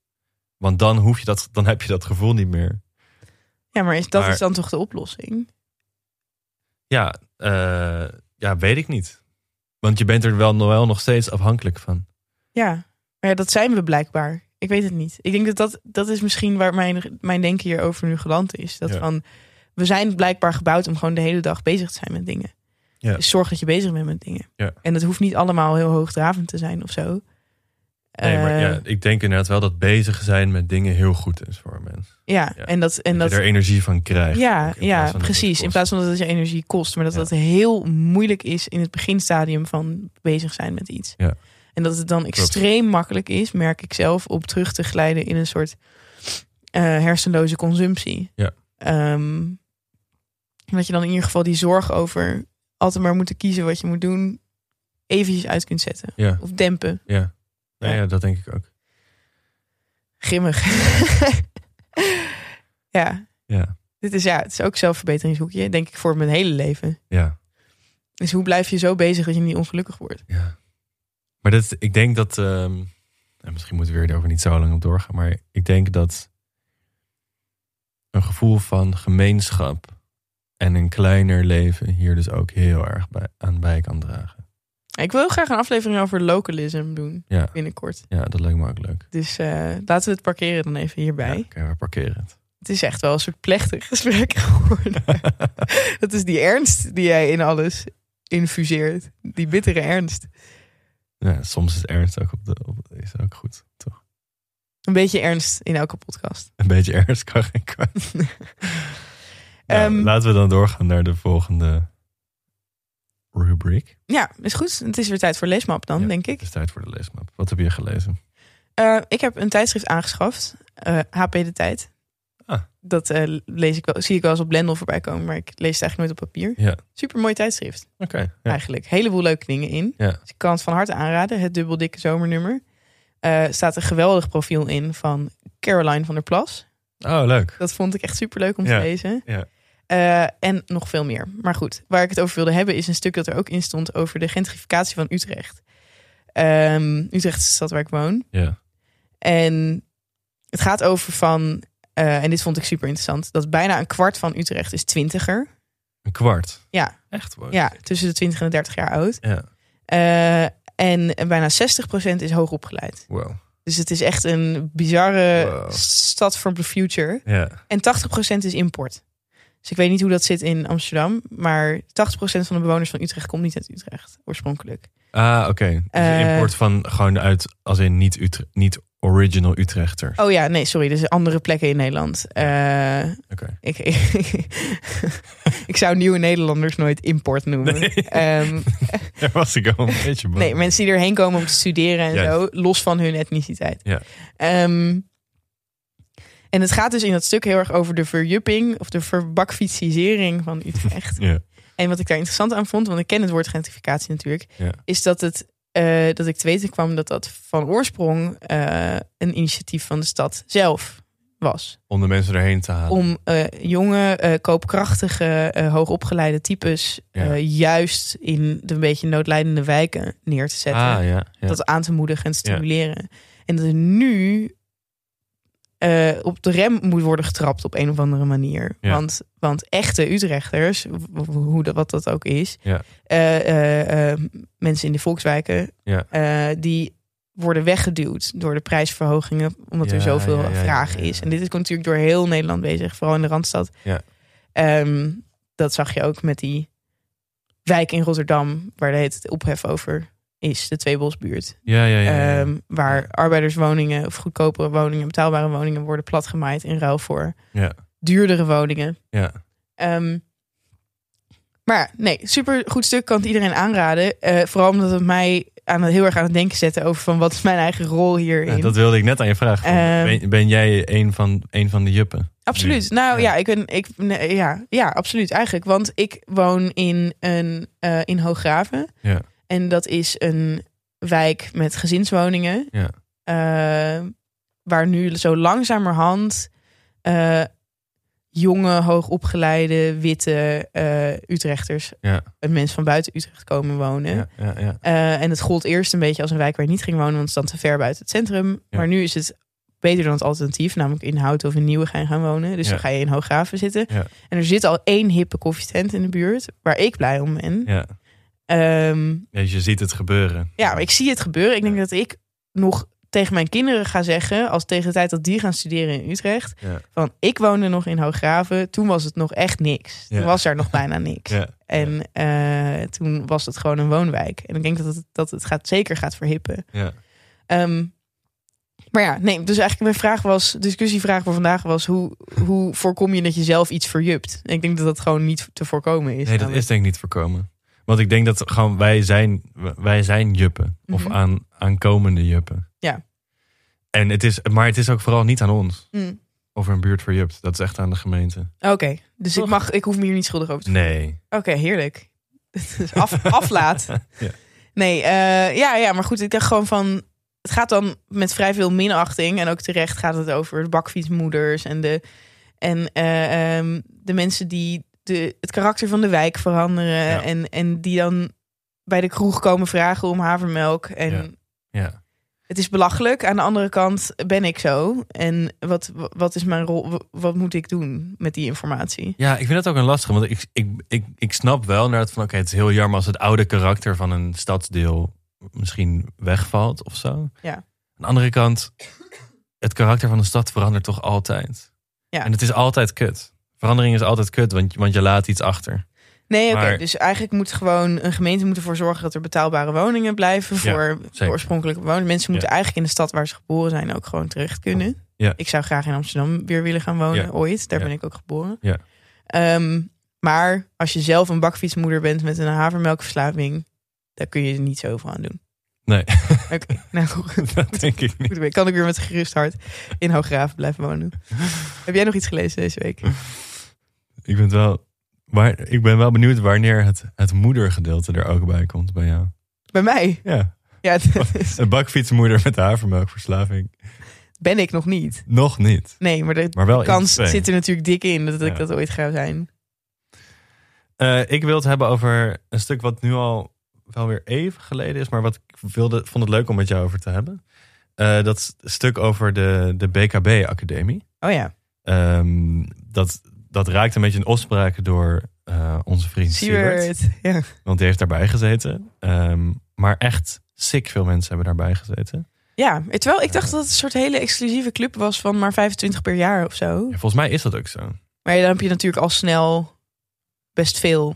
Speaker 2: Want dan hoef je dat, dan heb je dat gevoel niet meer.
Speaker 1: Ja, maar is, dat
Speaker 2: Maar-
Speaker 1: is dan toch de oplossing?
Speaker 2: Ja, eh, ja, weet ik niet. Want je bent er wel, wel nog steeds afhankelijk van.
Speaker 1: Ja, maar ja, dat zijn we blijkbaar. Ik weet het niet. Ik denk dat dat, dat is misschien waar mijn, mijn denken hierover nu geland is. Dat
Speaker 2: Ja.
Speaker 1: van, we zijn blijkbaar gebouwd om gewoon de hele dag bezig te zijn met dingen.
Speaker 2: Ja.
Speaker 1: Dus zorg dat je bezig bent met dingen.
Speaker 2: Ja.
Speaker 1: En dat hoeft niet allemaal heel hoogdravend te zijn of zo.
Speaker 2: Nee, maar
Speaker 1: Eh,
Speaker 2: ja, ik denk inderdaad wel dat bezig zijn met dingen heel goed is voor mensen.
Speaker 1: ja,
Speaker 2: ja.
Speaker 1: en dat... En
Speaker 2: dat,
Speaker 1: dat
Speaker 2: je er energie van krijgt.
Speaker 1: ja,
Speaker 2: ook in plaats
Speaker 1: ja
Speaker 2: van dat het
Speaker 1: precies.
Speaker 2: kost.
Speaker 1: In plaats van dat het je energie kost. Maar dat
Speaker 2: Ja.
Speaker 1: dat heel moeilijk is in het beginstadium van bezig zijn met iets.
Speaker 2: Ja.
Speaker 1: En dat het dan extreem makkelijk is, merk ik zelf, op terug te glijden in een soort eh, hersenloze consumptie.
Speaker 2: Ja.
Speaker 1: Ehm, dat je dan in ieder geval die zorg over altijd maar moeten kiezen wat je moet doen, eventjes uit kunt zetten.
Speaker 2: Ja,
Speaker 1: Of dempen.
Speaker 2: ja. Nou
Speaker 1: Ja.
Speaker 2: ja, dat denk ik ook.
Speaker 1: Grimmig. ja,
Speaker 2: Ja,
Speaker 1: dit is, ja, het is ook zelfverbeteringshoekje, denk ik, voor mijn hele leven.
Speaker 2: ja.
Speaker 1: Dus hoe blijf je zo bezig dat je niet ongelukkig wordt?
Speaker 2: Ja. Maar dat, ik denk dat. ehm, en misschien moeten we er over niet zo lang op doorgaan. Maar ik denk dat. Een gevoel van gemeenschap. En een kleiner leven hier dus ook heel erg bij, aan bij kan dragen.
Speaker 1: Ik wil graag een aflevering over localism doen
Speaker 2: Ja,
Speaker 1: binnenkort.
Speaker 2: ja dat lijkt me ook leuk.
Speaker 1: Dus eh, laten we het parkeren dan even hierbij.
Speaker 2: Ja, Oké, we parkeren het.
Speaker 1: Het is echt wel een soort plechtig gesprek geworden. Dat is die ernst die jij in alles infuseert. Die bittere ernst.
Speaker 2: ja, soms is ernst ook, op de, op- is ook goed, toch?
Speaker 1: Een beetje ernst in elke podcast.
Speaker 2: Een beetje ernst kan geen kwaad. Nou,
Speaker 1: Ehm,
Speaker 2: laten we dan doorgaan naar de volgende rubriek.
Speaker 1: Ja, is goed. Het is weer tijd voor leesmap dan,
Speaker 2: Ja,
Speaker 1: denk ik.
Speaker 2: Het is tijd voor de leesmap. Wat heb je gelezen?
Speaker 1: Eh, ik heb een tijdschrift aangeschaft. eh, HP De Tijd.
Speaker 2: Ah.
Speaker 1: Dat eh, lees ik wel, zie ik wel eens op Blendel voorbij komen. Maar ik lees het eigenlijk nooit op papier.
Speaker 2: Ja.
Speaker 1: Super mooi tijdschrift.
Speaker 2: Oké. ja.
Speaker 1: eigenlijk. Heleboel leuke dingen in.
Speaker 2: Ja.
Speaker 1: Dus ik kan het van harte aanraden. Het dubbeldikke zomernummer. Eh staat een geweldig profiel in van Caroline van der Plas.
Speaker 2: Oh, leuk.
Speaker 1: Dat vond ik echt superleuk om
Speaker 2: Ja,
Speaker 1: te lezen.
Speaker 2: ja.
Speaker 1: Eh, en nog veel meer. Maar goed, waar ik het over wilde hebben is een stuk dat er ook in stond over de gentrificatie van Utrecht. Ehm, Utrecht is de stad waar ik woon.
Speaker 2: Ja.
Speaker 1: En het gaat over van, eh, en dit vond ik super interessant, dat bijna een kwart van Utrecht is twintiger.
Speaker 2: Een kwart.
Speaker 1: Ja.
Speaker 2: Echt waar.
Speaker 1: Ja, tussen de 20 en de 30 jaar oud.
Speaker 2: Ja.
Speaker 1: Eh, en bijna 60% is hoogopgeleid.
Speaker 2: Wow.
Speaker 1: Dus het is echt een bizarre
Speaker 2: Wow.
Speaker 1: stad voor the future.
Speaker 2: Ja.
Speaker 1: En 80% is import. Dus ik weet niet hoe dat zit in Amsterdam. Maar 80% van de bewoners van Utrecht komt niet uit Utrecht oorspronkelijk.
Speaker 2: Ah, oké. Dus
Speaker 1: Eh.
Speaker 2: import van gewoon uit, als in niet, Utre- niet original Utrechter.
Speaker 1: Oh ja, nee, sorry. Er zijn andere plekken in Nederland. Eh,
Speaker 2: Oké.
Speaker 1: ik, ik zou nieuwe Nederlanders nooit import noemen.
Speaker 2: Nee.
Speaker 1: Ehm,
Speaker 2: Daar was ik al een beetje bang.
Speaker 1: Nee, mensen die erheen komen om te studeren en
Speaker 2: Hm. Juist.
Speaker 1: zo, los van hun etniciteit.
Speaker 2: Ja.
Speaker 1: Ehm, en het gaat dus in dat stuk heel erg over de verjupping of de verbakfietsisering van Utrecht.
Speaker 2: Ja.
Speaker 1: en wat ik daar interessant aan vond, want ik ken het woord gentrificatie natuurlijk,
Speaker 2: Ja.
Speaker 1: is dat, het, eh, dat ik te weten kwam dat dat van oorsprong eh, een initiatief van de stad zelf was.
Speaker 2: Om de mensen erheen te halen.
Speaker 1: Om eh, jonge, eh, koopkrachtige, eh, hoogopgeleide types
Speaker 2: Ja.
Speaker 1: eh, juist in de een beetje noodlijdende wijken neer te zetten.
Speaker 2: ah, ja, ja.
Speaker 1: Dat aan te moedigen en te stimuleren. En dat er nu eh, op de rem moet worden getrapt op een of andere manier.
Speaker 2: Ja.
Speaker 1: Want, want echte Utrechters, w- w- hoe dat, wat dat ook is,
Speaker 2: Ja.
Speaker 1: eh, eh, eh, mensen in de volkswijken,
Speaker 2: Ja.
Speaker 1: eh, die worden weggeduwd door de prijsverhogingen, omdat er
Speaker 2: Ja,
Speaker 1: zoveel
Speaker 2: ja, ja, ja,
Speaker 1: vraag
Speaker 2: ja.
Speaker 1: is. En dit is natuurlijk door heel Nederland bezig, vooral in de Randstad.
Speaker 2: Ja.
Speaker 1: Ehm, dat zag je ook met die wijk in Rotterdam, waar de het ophef over is, de Tweebosbuurt.
Speaker 2: ja, ja, ja, ja, ja.
Speaker 1: Ehm, waar
Speaker 2: Ja.
Speaker 1: arbeiderswoningen of goedkopere woningen, betaalbare woningen worden platgemaaid in ruil voor
Speaker 2: Ja.
Speaker 1: duurdere woningen.
Speaker 2: ja.
Speaker 1: Ehm, maar nee, super goed stuk, kan het iedereen aanraden. Eh, vooral omdat het mij aan, het- heel erg aan het denken zette over van wat is mijn eigen rol hierin.
Speaker 2: Ja, dat wilde ik net aan je vragen.
Speaker 1: Ehm,
Speaker 2: ben, ben jij een van, een van de juppen?
Speaker 1: Absoluut. Nou
Speaker 2: Ja.
Speaker 1: ja, ik ben, ik, nee, ja, ja, absoluut eigenlijk. Want ik woon in, een, eh, in Hooggraven.
Speaker 2: Ja.
Speaker 1: En dat is een wijk met gezinswoningen.
Speaker 2: Ja.
Speaker 1: Eh, waar nu zo langzamerhand eh, jonge, hoogopgeleide, witte eh, Utrechters,
Speaker 2: Ja.
Speaker 1: en mensen van buiten Utrecht komen wonen.
Speaker 2: Ja, ja, ja.
Speaker 1: Eh, en het gold eerst een beetje als een wijk waar je niet ging wonen, want het stond te ver buiten het centrum.
Speaker 2: Ja.
Speaker 1: Maar nu is het beter dan het alternatief, namelijk in Houten of in Nieuwegein gaan wonen. Dus
Speaker 2: Ja.
Speaker 1: dan ga je in Hooggraven zitten.
Speaker 2: Ja.
Speaker 1: En er zit al één hippe koffietent in de buurt, waar ik blij om ben.
Speaker 2: ja.
Speaker 1: Ja,
Speaker 2: Ja, dus je ziet het gebeuren.
Speaker 1: ja maar ik zie het gebeuren. Ik denk
Speaker 2: Ja.
Speaker 1: dat ik nog tegen mijn kinderen ga zeggen, als tegen de tijd dat die gaan studeren in Utrecht,
Speaker 2: Ja.
Speaker 1: van ik woonde nog in Hooggraven, toen was het nog echt niks. Toen
Speaker 2: Ja.
Speaker 1: was er nog bijna niks.
Speaker 2: Ja.
Speaker 1: En eh, toen was het gewoon een woonwijk. En ik denk dat het, dat het gaat, zeker gaat verhippen.
Speaker 2: Ja.
Speaker 1: Ehm, maar ja, nee, dus eigenlijk mijn vraag was, discussievraag voor vandaag was, hoe, hoe voorkom je dat je zelf iets verjupt? En ik denk dat dat gewoon niet te voorkomen is.
Speaker 2: Nee, dat is denk ik niet voorkomen. Want ik denk dat gewoon wij zijn, wij zijn juppen. Of
Speaker 1: Mhm.
Speaker 2: aan, aankomende juppen.
Speaker 1: Ja.
Speaker 2: En het is, maar het is ook vooral niet aan ons.
Speaker 1: Mm,
Speaker 2: Of er een buurt voor jupt. Dat is echt aan de gemeente.
Speaker 1: Oké, dus ik, mag, ik hoef me hier niet schuldig over te
Speaker 2: Nee.
Speaker 1: Oké, heerlijk. Dus Af, aflaat.
Speaker 2: Ja.
Speaker 1: Nee, eh, ja, ja, maar goed, ik dacht gewoon van... Het gaat dan met vrij veel minachting. En ook terecht gaat het over de bakfietsmoeders en de, en, eh, ehm, de mensen die de, het karakter van de wijk veranderen.
Speaker 2: Ja.
Speaker 1: En, en die dan bij de kroeg komen vragen om havermelk. En
Speaker 2: Ja. Ja.
Speaker 1: het is belachelijk. Aan de andere kant ben ik zo. En wat, wat is mijn rol? Wa- Wat moet ik doen met die informatie?
Speaker 2: Ja, ik vind het ook een lastige. Want ik, ik, ik, ik snap wel inderdaad van... Oké, het is heel jammer als het oude karakter van een stadsdeel... misschien wegvalt of zo.
Speaker 1: Ja.
Speaker 2: Aan de andere kant... het karakter van een stad verandert toch altijd.
Speaker 1: Ja.
Speaker 2: En het is altijd kut. Verandering is altijd kut, want, want je laat iets achter.
Speaker 1: Nee, oké.
Speaker 2: Maar-
Speaker 1: Dus eigenlijk moet gewoon een gemeente moet ervoor zorgen dat er betaalbare woningen blijven voor de oorspronkelijke bewoners. Mensen moeten eigenlijk in de stad waar ze geboren zijn ook gewoon terecht kunnen.
Speaker 2: Ja.
Speaker 1: Ik zou graag in Amsterdam weer willen gaan wonen
Speaker 2: Ja.
Speaker 1: ooit. Daar
Speaker 2: Ja.
Speaker 1: ben ik ook geboren.
Speaker 2: Ja.
Speaker 1: Ehm, maar als je zelf een bakfietsmoeder bent met een havermelkverslaving, daar kun je er niet zoveel aan doen.
Speaker 2: Nee.
Speaker 1: Oké, nou goed.
Speaker 2: Dat denk ik niet.
Speaker 1: Goed, Kan ik weer met gerust hart in Hooggraven blijven wonen. Heb jij nog iets gelezen deze week?
Speaker 2: Ik, vind wel, waar, ik ben wel benieuwd wanneer het, het moedergedeelte er ook bij komt bij jou.
Speaker 1: Bij mij?
Speaker 2: Ja,
Speaker 1: Ja, dat is-
Speaker 2: een bakfietsmoeder met havermelkverslaving.
Speaker 1: ben ik nog niet.
Speaker 2: Nog niet,
Speaker 1: Nee, maar de
Speaker 2: maar wel in
Speaker 1: kans
Speaker 2: twee.
Speaker 1: zit er natuurlijk dik in dat ik
Speaker 2: Oh, Ja.
Speaker 1: dat ooit ga zijn.
Speaker 2: Eh, ik wil het hebben over een stuk wat nu al wel weer even geleden is, maar wat ik wilde, vond het leuk om met jou over te hebben. Eh, dat s- stuk over de, de BKB-academie.
Speaker 1: Oh ja,
Speaker 2: Ehm, dat, dat raakt een beetje een opspraak door eh, onze vriend Siewert.
Speaker 1: Siewert. Ja.
Speaker 2: Want die heeft daarbij gezeten. Ehm, maar echt sick veel mensen hebben daarbij gezeten.
Speaker 1: ja, terwijl ik dacht dat het een soort hele exclusieve club was van maar 25 per jaar of zo.
Speaker 2: Ja, volgens mij is dat ook zo.
Speaker 1: Maar ja, dan heb je natuurlijk al snel best veel.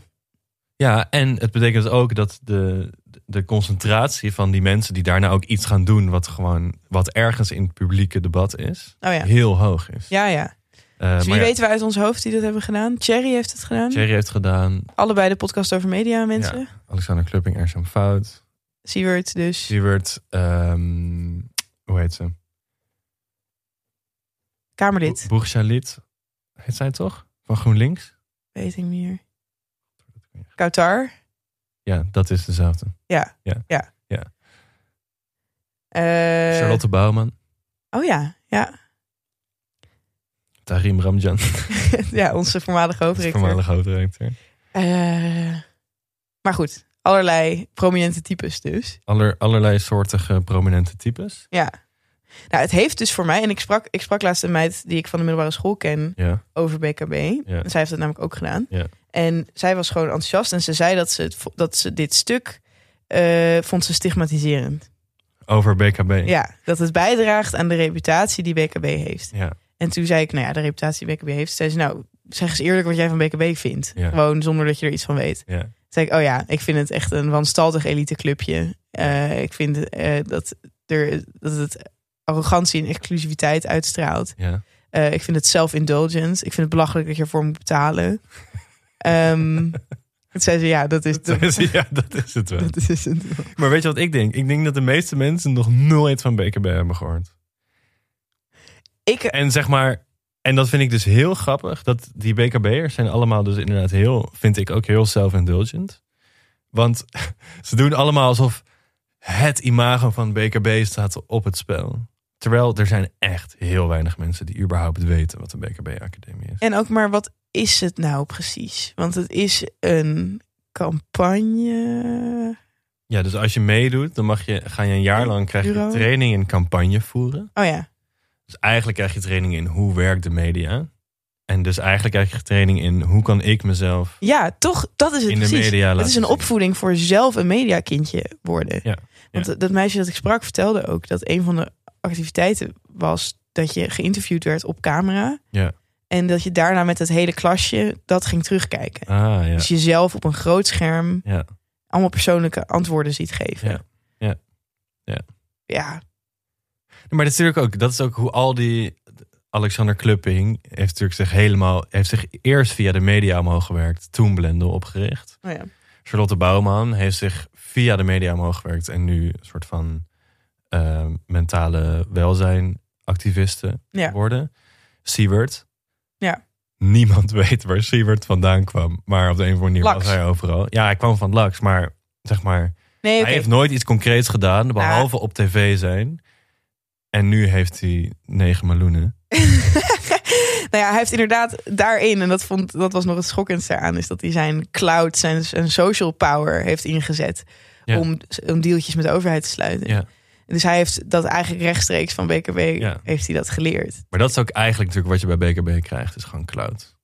Speaker 2: Ja, en het betekent dus ook dat de, de concentratie van die mensen die daarna ook iets gaan doen, wat gewoon wat ergens in het publieke debat is,
Speaker 1: Oh ja,
Speaker 2: heel hoog is.
Speaker 1: ja, ja.
Speaker 2: Eh,
Speaker 1: Dus wie
Speaker 2: maar ja,
Speaker 1: weten we uit ons hoofd die dat hebben gedaan? Thierry heeft het gedaan.
Speaker 2: Thierry heeft gedaan,
Speaker 1: Allebei de podcast over media mensen.
Speaker 2: Alexander Klupping, Ersham Fout,
Speaker 1: Siewert dus.
Speaker 2: Siewert, ehm, hoe heet ze?
Speaker 1: Kamerlid,
Speaker 2: Bo- Bourchalit, heet zij toch? Van GroenLinks?
Speaker 1: weet ik niet meer. Kautar.
Speaker 2: Ja, dat is dezelfde.
Speaker 1: Eh,
Speaker 2: Charlotte Bouwman.
Speaker 1: Oh ja, ja.
Speaker 2: Tarim Ramjan,
Speaker 1: ja, onze voormalige
Speaker 2: de
Speaker 1: hoofdrector.
Speaker 2: voormalige hoofdredacteur.
Speaker 1: Eh, maar goed, allerlei prominente types dus.
Speaker 2: Aller, allerlei soortige prominente types.
Speaker 1: Ja. Nou, het heeft dus voor mij, en ik sprak, ik sprak laatst een meid die ik van de middelbare school ken
Speaker 2: Ja,
Speaker 1: over BKB.
Speaker 2: ja.
Speaker 1: En zij heeft dat namelijk ook gedaan.
Speaker 2: Ja.
Speaker 1: En zij was gewoon enthousiast en ze zei dat ze, het, vo- dat ze dit stuk eh, vond ze stigmatiserend.
Speaker 2: Over BKB.
Speaker 1: Ja, dat het bijdraagt aan de reputatie die BKB heeft.
Speaker 2: Ja.
Speaker 1: En toen zei ik, nou ja, de reputatie die BKB heeft. Zei ze, nou, zeg eens eerlijk wat jij van BKB vindt.
Speaker 2: Ja.
Speaker 1: Gewoon zonder dat je er iets van weet.
Speaker 2: Ja.
Speaker 1: Toen zei ik, oh ja, ik vind het echt een wanstaltig eliteclubje. Eh, ik vind eh, dat, er, dat het arrogantie en exclusiviteit uitstraalt.
Speaker 2: Ja.
Speaker 1: Eh, ik vind het self-indulgent. Ik vind het belachelijk dat je ervoor moet betalen. Ehm toen zei ze, ja, dat is, dat,
Speaker 2: ja, dat is het wel.
Speaker 1: dat is het.
Speaker 2: Maar weet je wat ik denk? Ik denk dat de meeste mensen nog nooit van BKB hebben gehoord.
Speaker 1: Ik,
Speaker 2: En zeg maar, en dat vind ik dus heel grappig. Dat die BKB'ers zijn allemaal dus inderdaad heel, vind ik ook heel self-indulgent. Want ze doen allemaal alsof het imago van BKB staat op het spel. Terwijl er zijn echt heel weinig mensen die überhaupt weten wat een BKB-academie is.
Speaker 1: en ook maar, wat is het nou precies? Want het is een campagne...
Speaker 2: Ja, dus als je meedoet, dan mag je, ga je een jaar lang krijg je
Speaker 1: Bureau.
Speaker 2: training in campagne voeren.
Speaker 1: Oh ja,
Speaker 2: Dus eigenlijk krijg je training in hoe werkt de media. En dus eigenlijk krijg je training in hoe kan ik mezelf
Speaker 1: ja, toch, dat is het
Speaker 2: in de
Speaker 1: precies.
Speaker 2: media laten
Speaker 1: Het is een
Speaker 2: zien.
Speaker 1: opvoeding voor zelf een mediakindje worden.
Speaker 2: Ja,
Speaker 1: Want dat- dat meisje dat ik sprak vertelde ook dat een van de activiteiten was dat je geïnterviewd werd op camera.
Speaker 2: Ja.
Speaker 1: En dat je daarna met het hele klasje dat ging terugkijken.
Speaker 2: Ah ja.
Speaker 1: Dus jezelf op een groot scherm
Speaker 2: Ja.
Speaker 1: allemaal persoonlijke antwoorden ziet geven.
Speaker 2: Ja. Ja. Ja.
Speaker 1: Ja.
Speaker 2: Maar dat is natuurlijk ook, dat is ook hoe al die. Alexander Klupping heeft natuurlijk zich helemaal. heeft zich eerst via de media omhoog gewerkt. Toen Blendel opgericht.
Speaker 1: Oh ja.
Speaker 2: Charlotte Bouwman heeft zich via de media omhoog gewerkt. En nu een soort van eh, mentale welzijn activisten
Speaker 1: Ja.
Speaker 2: worden. Siewert.
Speaker 1: Ja.
Speaker 2: Niemand weet waar Siewert vandaan kwam. Maar op de een of andere manier
Speaker 1: Laks.
Speaker 2: was hij overal. Ja, hij kwam van Lux. Maar zeg maar,
Speaker 1: Nee, oké.
Speaker 2: hij heeft nooit iets concreets gedaan. Behalve op tv zijn. En nu heeft hij negen meloenen.
Speaker 1: nou ja, hij heeft inderdaad daarin, en dat, vond, dat was nog het schokkendste aan, is dat hij zijn cloud, zijn, zijn social power heeft ingezet
Speaker 2: Ja.
Speaker 1: om, om deeltjes met de overheid te sluiten.
Speaker 2: Ja.
Speaker 1: Dus hij heeft dat eigenlijk rechtstreeks van BKB
Speaker 2: Ja.
Speaker 1: heeft hij dat geleerd.
Speaker 2: Maar dat is ook eigenlijk natuurlijk wat je bij BKB krijgt. is gewoon cloud.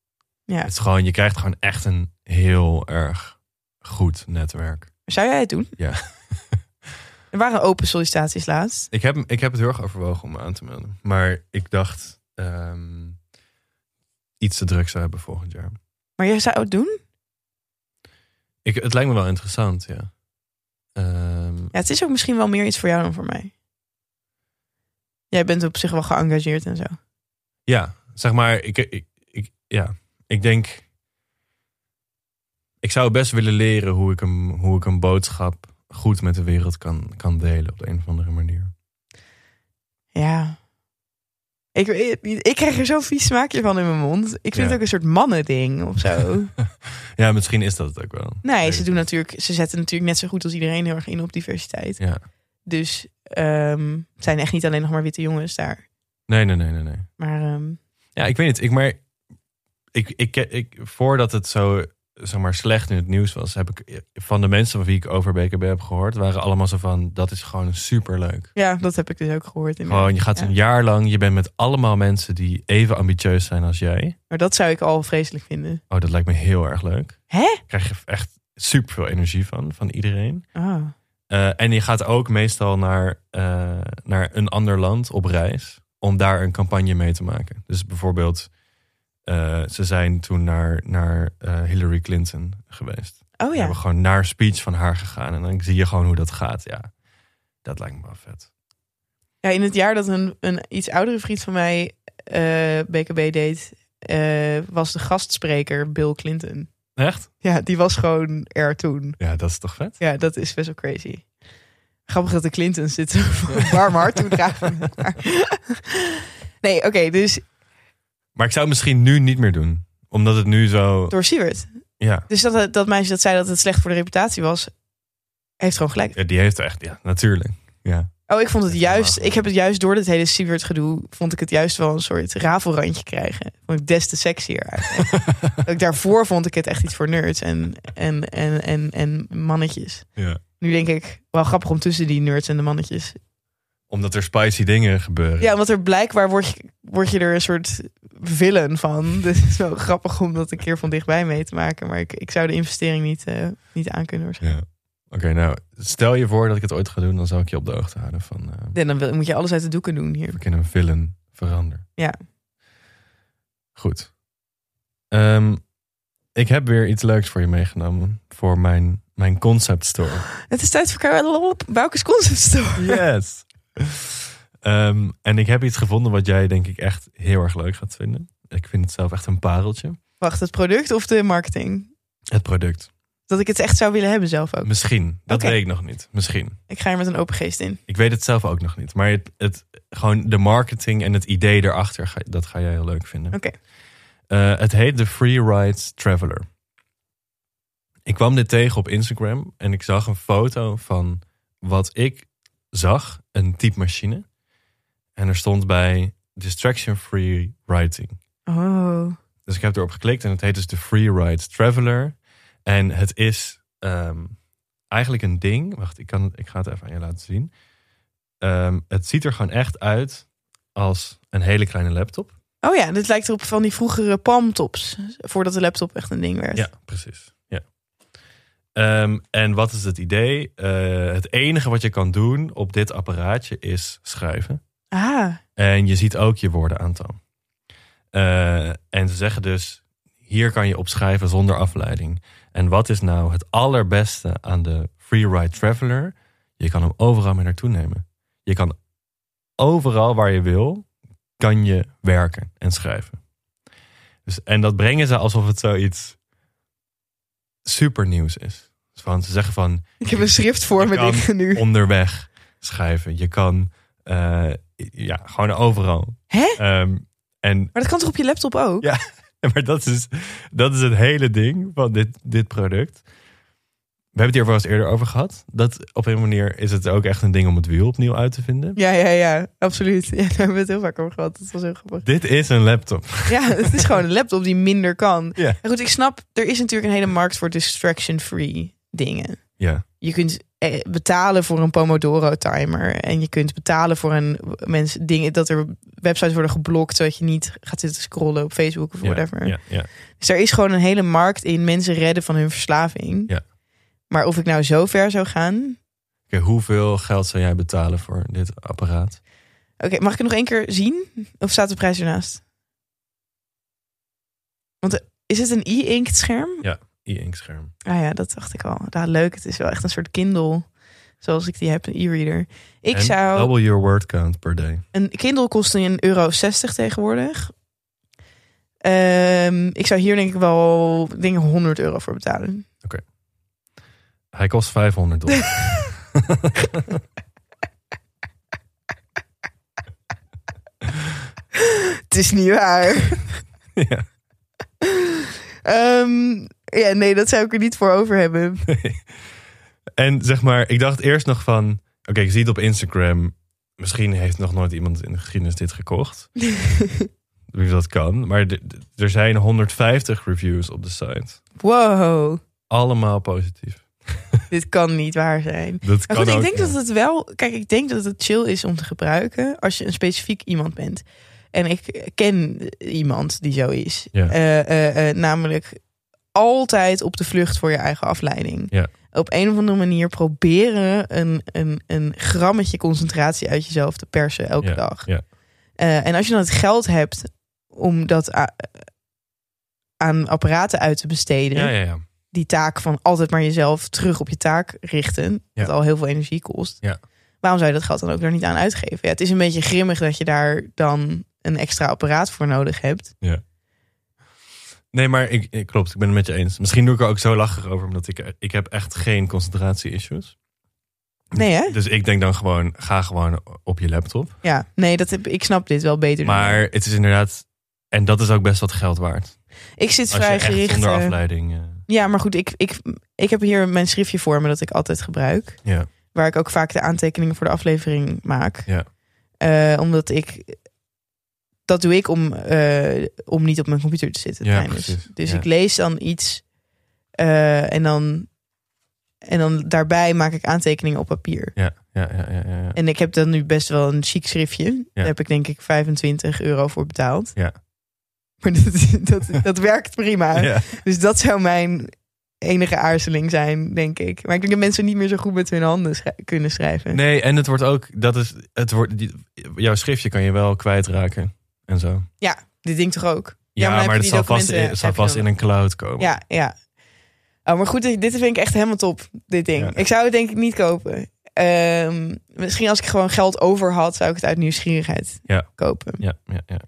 Speaker 1: Ja.
Speaker 2: Het is gewoon, je krijgt gewoon echt een heel erg goed netwerk.
Speaker 1: Zou jij het doen?
Speaker 2: Ja.
Speaker 1: Er waren open sollicitaties laatst.
Speaker 2: Ik heb, ik heb het heel erg overwogen om me aan te melden. Maar ik dacht ehm, iets te druk zou hebben volgend jaar.
Speaker 1: Maar jij zou het doen?
Speaker 2: Ik, het lijkt me wel interessant, ja. Ehm,
Speaker 1: Ja, het is ook misschien wel meer iets voor jou dan voor mij. Jij bent op zich wel geëngageerd en zo.
Speaker 2: ja, zeg maar, ik, ik, ik, ja, ik denk... Ik zou best willen leren hoe ik een, hoe ik een boodschap goed met de wereld kan, kan delen op de een of andere manier.
Speaker 1: Ja. Ik, weet het niet. ik krijg er zo'n vies smaakje van in mijn mond. Ik vind
Speaker 2: Ja.
Speaker 1: het ook een soort mannending of zo.
Speaker 2: Ja, misschien is dat het ook wel.
Speaker 1: nee, ze, doen natuurlijk, ze zetten natuurlijk net zo goed als iedereen heel erg in op diversiteit.
Speaker 2: Ja.
Speaker 1: Dus ehm, het zijn echt niet alleen nog maar witte jongens daar.
Speaker 2: Nee, nee, nee, nee, nee.
Speaker 1: Maar ehm,
Speaker 2: Ja, ik weet het. Ik, maar ik, ik, ik, voordat het zo zeg maar, slecht in het nieuws was, heb ik van de mensen van wie ik over BKB heb gehoord, waren allemaal zo van: dat is gewoon superleuk.
Speaker 1: ja, dat heb ik dus ook gehoord. In mijn-
Speaker 2: Gewoon, je gaat
Speaker 1: ja.
Speaker 2: een jaar lang, je bent met allemaal mensen die even ambitieus zijn als jij.
Speaker 1: Maar dat zou ik al vreselijk vinden.
Speaker 2: Oh, dat lijkt me heel erg leuk.
Speaker 1: Hè?
Speaker 2: Krijg je echt super veel energie van, van iedereen.
Speaker 1: Ah.
Speaker 2: Eh, en je gaat ook meestal naar, eh, naar een ander land op reis om daar een campagne mee te maken. Dus bijvoorbeeld, eh, ze zijn toen naar, naar eh, Hillary Clinton geweest.
Speaker 1: Oh
Speaker 2: Ze
Speaker 1: ja.
Speaker 2: hebben gewoon naar speech van haar gegaan. En dan zie je gewoon hoe dat gaat. Ja, dat lijkt me wel vet.
Speaker 1: ja. In het jaar dat een, een iets oudere vriend van mij eh, BKB deed, eh, was de gastspreker Bill Clinton.
Speaker 2: Echt?
Speaker 1: Ja, die was gewoon er toen.
Speaker 2: Ja, dat is toch vet?
Speaker 1: Ja, dat is best wel crazy. Grappig dat de Clintons dit zo warm hart toedragen. Maar- nee, oké, dus
Speaker 2: Maar ik zou het misschien nu niet meer doen. Omdat het nu zo...
Speaker 1: door Siewert.
Speaker 2: Ja,
Speaker 1: Dus dat, dat meisje dat zei dat het slecht voor de reputatie was, heeft gewoon gelijk.
Speaker 2: Ja, die heeft echt... Ja, natuurlijk. Ja.
Speaker 1: Oh, ik vond het
Speaker 2: Dat is
Speaker 1: juist.
Speaker 2: helemaal-
Speaker 1: Ik heb het juist door dit hele Siebert gedoe. Vond ik het juist wel een soort rafelrandje krijgen. Vond ik des te sexier eigenlijk. Dat ik daarvoor vond ik het echt iets voor nerds en, en, en, en, en mannetjes.
Speaker 2: Ja.
Speaker 1: Nu denk ik wel grappig om tussen die nerds en de mannetjes.
Speaker 2: Omdat er spicy dingen gebeuren.
Speaker 1: Ja, want er blijkbaar word je, word je er een soort villain van. Dus het is wel grappig om dat een keer van dichtbij mee te maken. Maar ik, ik zou de investering niet, eh niet aankunnen waarschijnlijk.
Speaker 2: Ja. Oké, nou, stel je voor dat ik het ooit ga doen, dan zal ik je op de hoogte houden van eh
Speaker 1: En dan wil- moet je alles uit de doeken doen hier.
Speaker 2: of ik in een villain verander.
Speaker 1: Ja.
Speaker 2: Goed. Ehm, ik heb weer iets leuks voor je meegenomen voor mijn, mijn concept store.
Speaker 1: Het is tijd voor Karel op Bouwkes Concept Store.
Speaker 2: Yes. Ehm, en ik heb iets gevonden wat jij denk ik echt heel erg leuk gaat vinden. Ik vind het zelf echt een pareltje.
Speaker 1: Wacht, het product of de marketing?
Speaker 2: Het product.
Speaker 1: Dat ik het echt zou willen hebben zelf ook.
Speaker 2: Misschien. Dat
Speaker 1: Oké.
Speaker 2: weet ik nog niet. Misschien.
Speaker 1: Ik ga er met een open geest in.
Speaker 2: Ik weet het zelf ook nog niet. Maar het, het, gewoon de marketing en het idee erachter, ga, dat ga jij heel leuk vinden.
Speaker 1: Oké.
Speaker 2: Eh, het heet de Free Ride Traveler. Ik kwam dit tegen op Instagram en ik zag een foto van wat ik zag, een type machine. En er stond bij Distraction Free Writing.
Speaker 1: Oh.
Speaker 2: Dus ik heb erop geklikt en het heet dus de Freeride Traveler. En het is ehm, eigenlijk een ding. Wacht, ik, kan, het- ik ga het even aan je laten zien. Ehm, het ziet er gewoon echt uit als een hele kleine laptop.
Speaker 1: Oh ja, dit lijkt op van die vroegere palmtops. Voordat de laptop echt een ding werd.
Speaker 2: Ja, precies. Ja. Ehm, en wat is het idee? Eh, het enige wat je kan doen op dit apparaatje is schrijven.
Speaker 1: Ah,
Speaker 2: En je ziet ook je woordenaantal. Eh, en ze zeggen dus, hier kan je opschrijven zonder afleiding. En wat is nou het allerbeste aan de Freeride Traveler? Je kan hem overal mee naartoe nemen. Je kan overal waar je wil, kan je werken en schrijven. Dus, en dat brengen ze alsof het zoiets supernieuws is. Dus van, ze zeggen van,
Speaker 1: ik heb een schrift voor
Speaker 2: Je
Speaker 1: me
Speaker 2: kan Oh.
Speaker 1: liggen nu.
Speaker 2: onderweg schrijven. Je kan, eh, ja, gewoon overal.
Speaker 1: Hè?
Speaker 2: Ehm, en
Speaker 1: Maar dat kan toch op je laptop ook?
Speaker 2: Ja. maar dat is, dat is het hele ding van dit, dit product. We hebben het hier wel eens eerder over gehad. Dat op een manier is het ook echt een ding om het wiel opnieuw uit te vinden.
Speaker 1: Ja, ja, ja, absoluut. Ja, daar hebben we het heel vaak over gehad. Dat was heel grappig.
Speaker 2: Dit is een laptop.
Speaker 1: Ja, het is gewoon een laptop die minder kan.
Speaker 2: Ja.
Speaker 1: En goed, ik snap, er is natuurlijk een hele markt voor distraction-free dingen.
Speaker 2: Ja,
Speaker 1: Je kunt eh, betalen voor een Pomodoro-timer. En je kunt betalen voor een mensen dingen dat er websites worden geblokt. Zodat je niet gaat zitten scrollen op Facebook of
Speaker 2: ja,
Speaker 1: whatever.
Speaker 2: Ja, ja.
Speaker 1: Dus er is gewoon een hele markt in mensen redden van hun verslaving.
Speaker 2: Ja.
Speaker 1: Maar of ik nou zo ver zou gaan.
Speaker 2: Oké, hoeveel geld zou jij betalen voor dit apparaat?
Speaker 1: Oké, mag ik het nog één keer zien? Of staat de prijs ernaast? Want eh, is het een e-inkt scherm?
Speaker 2: E-ink scherm.
Speaker 1: Ah ja, dat dacht ik al. Ja, leuk. Het is wel echt een soort Kindle. Zoals ik die heb, een e-reader. Ik
Speaker 2: En
Speaker 1: zou.
Speaker 2: Double your word count per day.
Speaker 1: Een Kindle kost een euro 60 tegenwoordig. Ehm, ik zou hier denk ik wel dingen 100 euro voor betalen.
Speaker 2: Hij kost 500 dollar.
Speaker 1: Het is niet waar.
Speaker 2: ja.
Speaker 1: Ehm, ja, nee, dat zou ik er niet voor over hebben.
Speaker 2: En zeg maar, ik dacht eerst nog van... Oké, ik zie het op Instagram. Misschien heeft nog nooit iemand in de geschiedenis dit gekocht. Wie dat kan. Maar d- d- er zijn 150 reviews op de site.
Speaker 1: Wow,
Speaker 2: Allemaal positief.
Speaker 1: dit kan niet waar zijn.
Speaker 2: Dat kan
Speaker 1: Maar goed, ik
Speaker 2: ook,
Speaker 1: denk
Speaker 2: ja.
Speaker 1: dat het wel. Kijk, ik denk dat het chill is om te gebruiken als je een specifiek iemand bent. En ik ken iemand die zo is.
Speaker 2: Ja.
Speaker 1: Eh, eh, eh, namelijk altijd op de vlucht voor je eigen afleiding.
Speaker 2: Ja.
Speaker 1: Op een of andere manier proberen een, een, een grammetje concentratie uit jezelf te persen elke
Speaker 2: Ja,
Speaker 1: dag.
Speaker 2: ja.
Speaker 1: Eh, en als je dan het geld hebt om dat a- aan apparaten uit te besteden
Speaker 2: Ja, ja, ja.
Speaker 1: die taak van altijd maar jezelf terug op je taak richten. Dat
Speaker 2: Ja.
Speaker 1: al heel veel energie kost.
Speaker 2: Ja.
Speaker 1: Waarom zou je dat geld dan ook daar niet aan uitgeven? Ja, het is een beetje grimmig dat je daar dan een extra apparaat voor nodig hebt.
Speaker 2: Nee, maar ik, ik- klopt. Ik ben het met je eens. Misschien doe ik er ook zo lacherig over. Omdat ik, ik heb echt geen concentratie-issues.
Speaker 1: Nee, hè?
Speaker 2: Dus ik denk dan gewoon... Ga gewoon op je laptop.
Speaker 1: Ja, nee, dat heb, ik snap dit wel beter. dan
Speaker 2: Maar het is inderdaad... En dat is ook best wat geld waard.
Speaker 1: ik zit
Speaker 2: Als je
Speaker 1: vrij
Speaker 2: echt
Speaker 1: gericht.
Speaker 2: zonder
Speaker 1: eh,
Speaker 2: afleiding... eh,
Speaker 1: ja, maar goed, ik, ik, ik heb hier mijn schriftje voor me dat ik altijd gebruik.
Speaker 2: ja.
Speaker 1: Waar ik ook vaak de aantekeningen voor de aflevering maak.
Speaker 2: Ja.
Speaker 1: Eh, omdat ik. Dat doe ik om, eh, om niet op mijn computer te zitten.
Speaker 2: Ja,
Speaker 1: tijdens.
Speaker 2: precies.
Speaker 1: Dus
Speaker 2: Ja.
Speaker 1: ik lees dan iets. eh, en, dan, en dan daarbij maak ik aantekeningen op papier.
Speaker 2: Ja, ja, ja, ja, ja. ja.
Speaker 1: En ik heb dan nu best wel een chic schriftje. Daar heb ik denk ik 25 euro voor betaald.
Speaker 2: Ja.
Speaker 1: Maar dat, dat, dat werkt prima.
Speaker 2: Ja.
Speaker 1: Dus dat zou mijn enige aarzeling zijn, denk ik. Maar ik denk dat mensen niet meer zo goed met hun handen schrij- kunnen schrijven.
Speaker 2: Nee, en het wordt ook, dat is, het wordt, die- jouw schriftje kan je wel kwijtraken en zo.
Speaker 1: Dit ding toch ook?
Speaker 2: Ja,
Speaker 1: maar dan heb
Speaker 2: maar,
Speaker 1: je
Speaker 2: het
Speaker 1: die
Speaker 2: zal vast,
Speaker 1: documenten-
Speaker 2: in, het zal
Speaker 1: heb je
Speaker 2: vast
Speaker 1: dan-
Speaker 2: in een cloud komen.
Speaker 1: Ja, ja. Oh, maar goed, dit dit vind ik echt helemaal top, dit ding.
Speaker 2: Ja.
Speaker 1: Ik zou het denk ik niet kopen. Ehm, misschien als ik gewoon geld over had, zou ik het uit nieuwsgierigheid
Speaker 2: Ja.
Speaker 1: kopen.
Speaker 2: ja, ja, ja.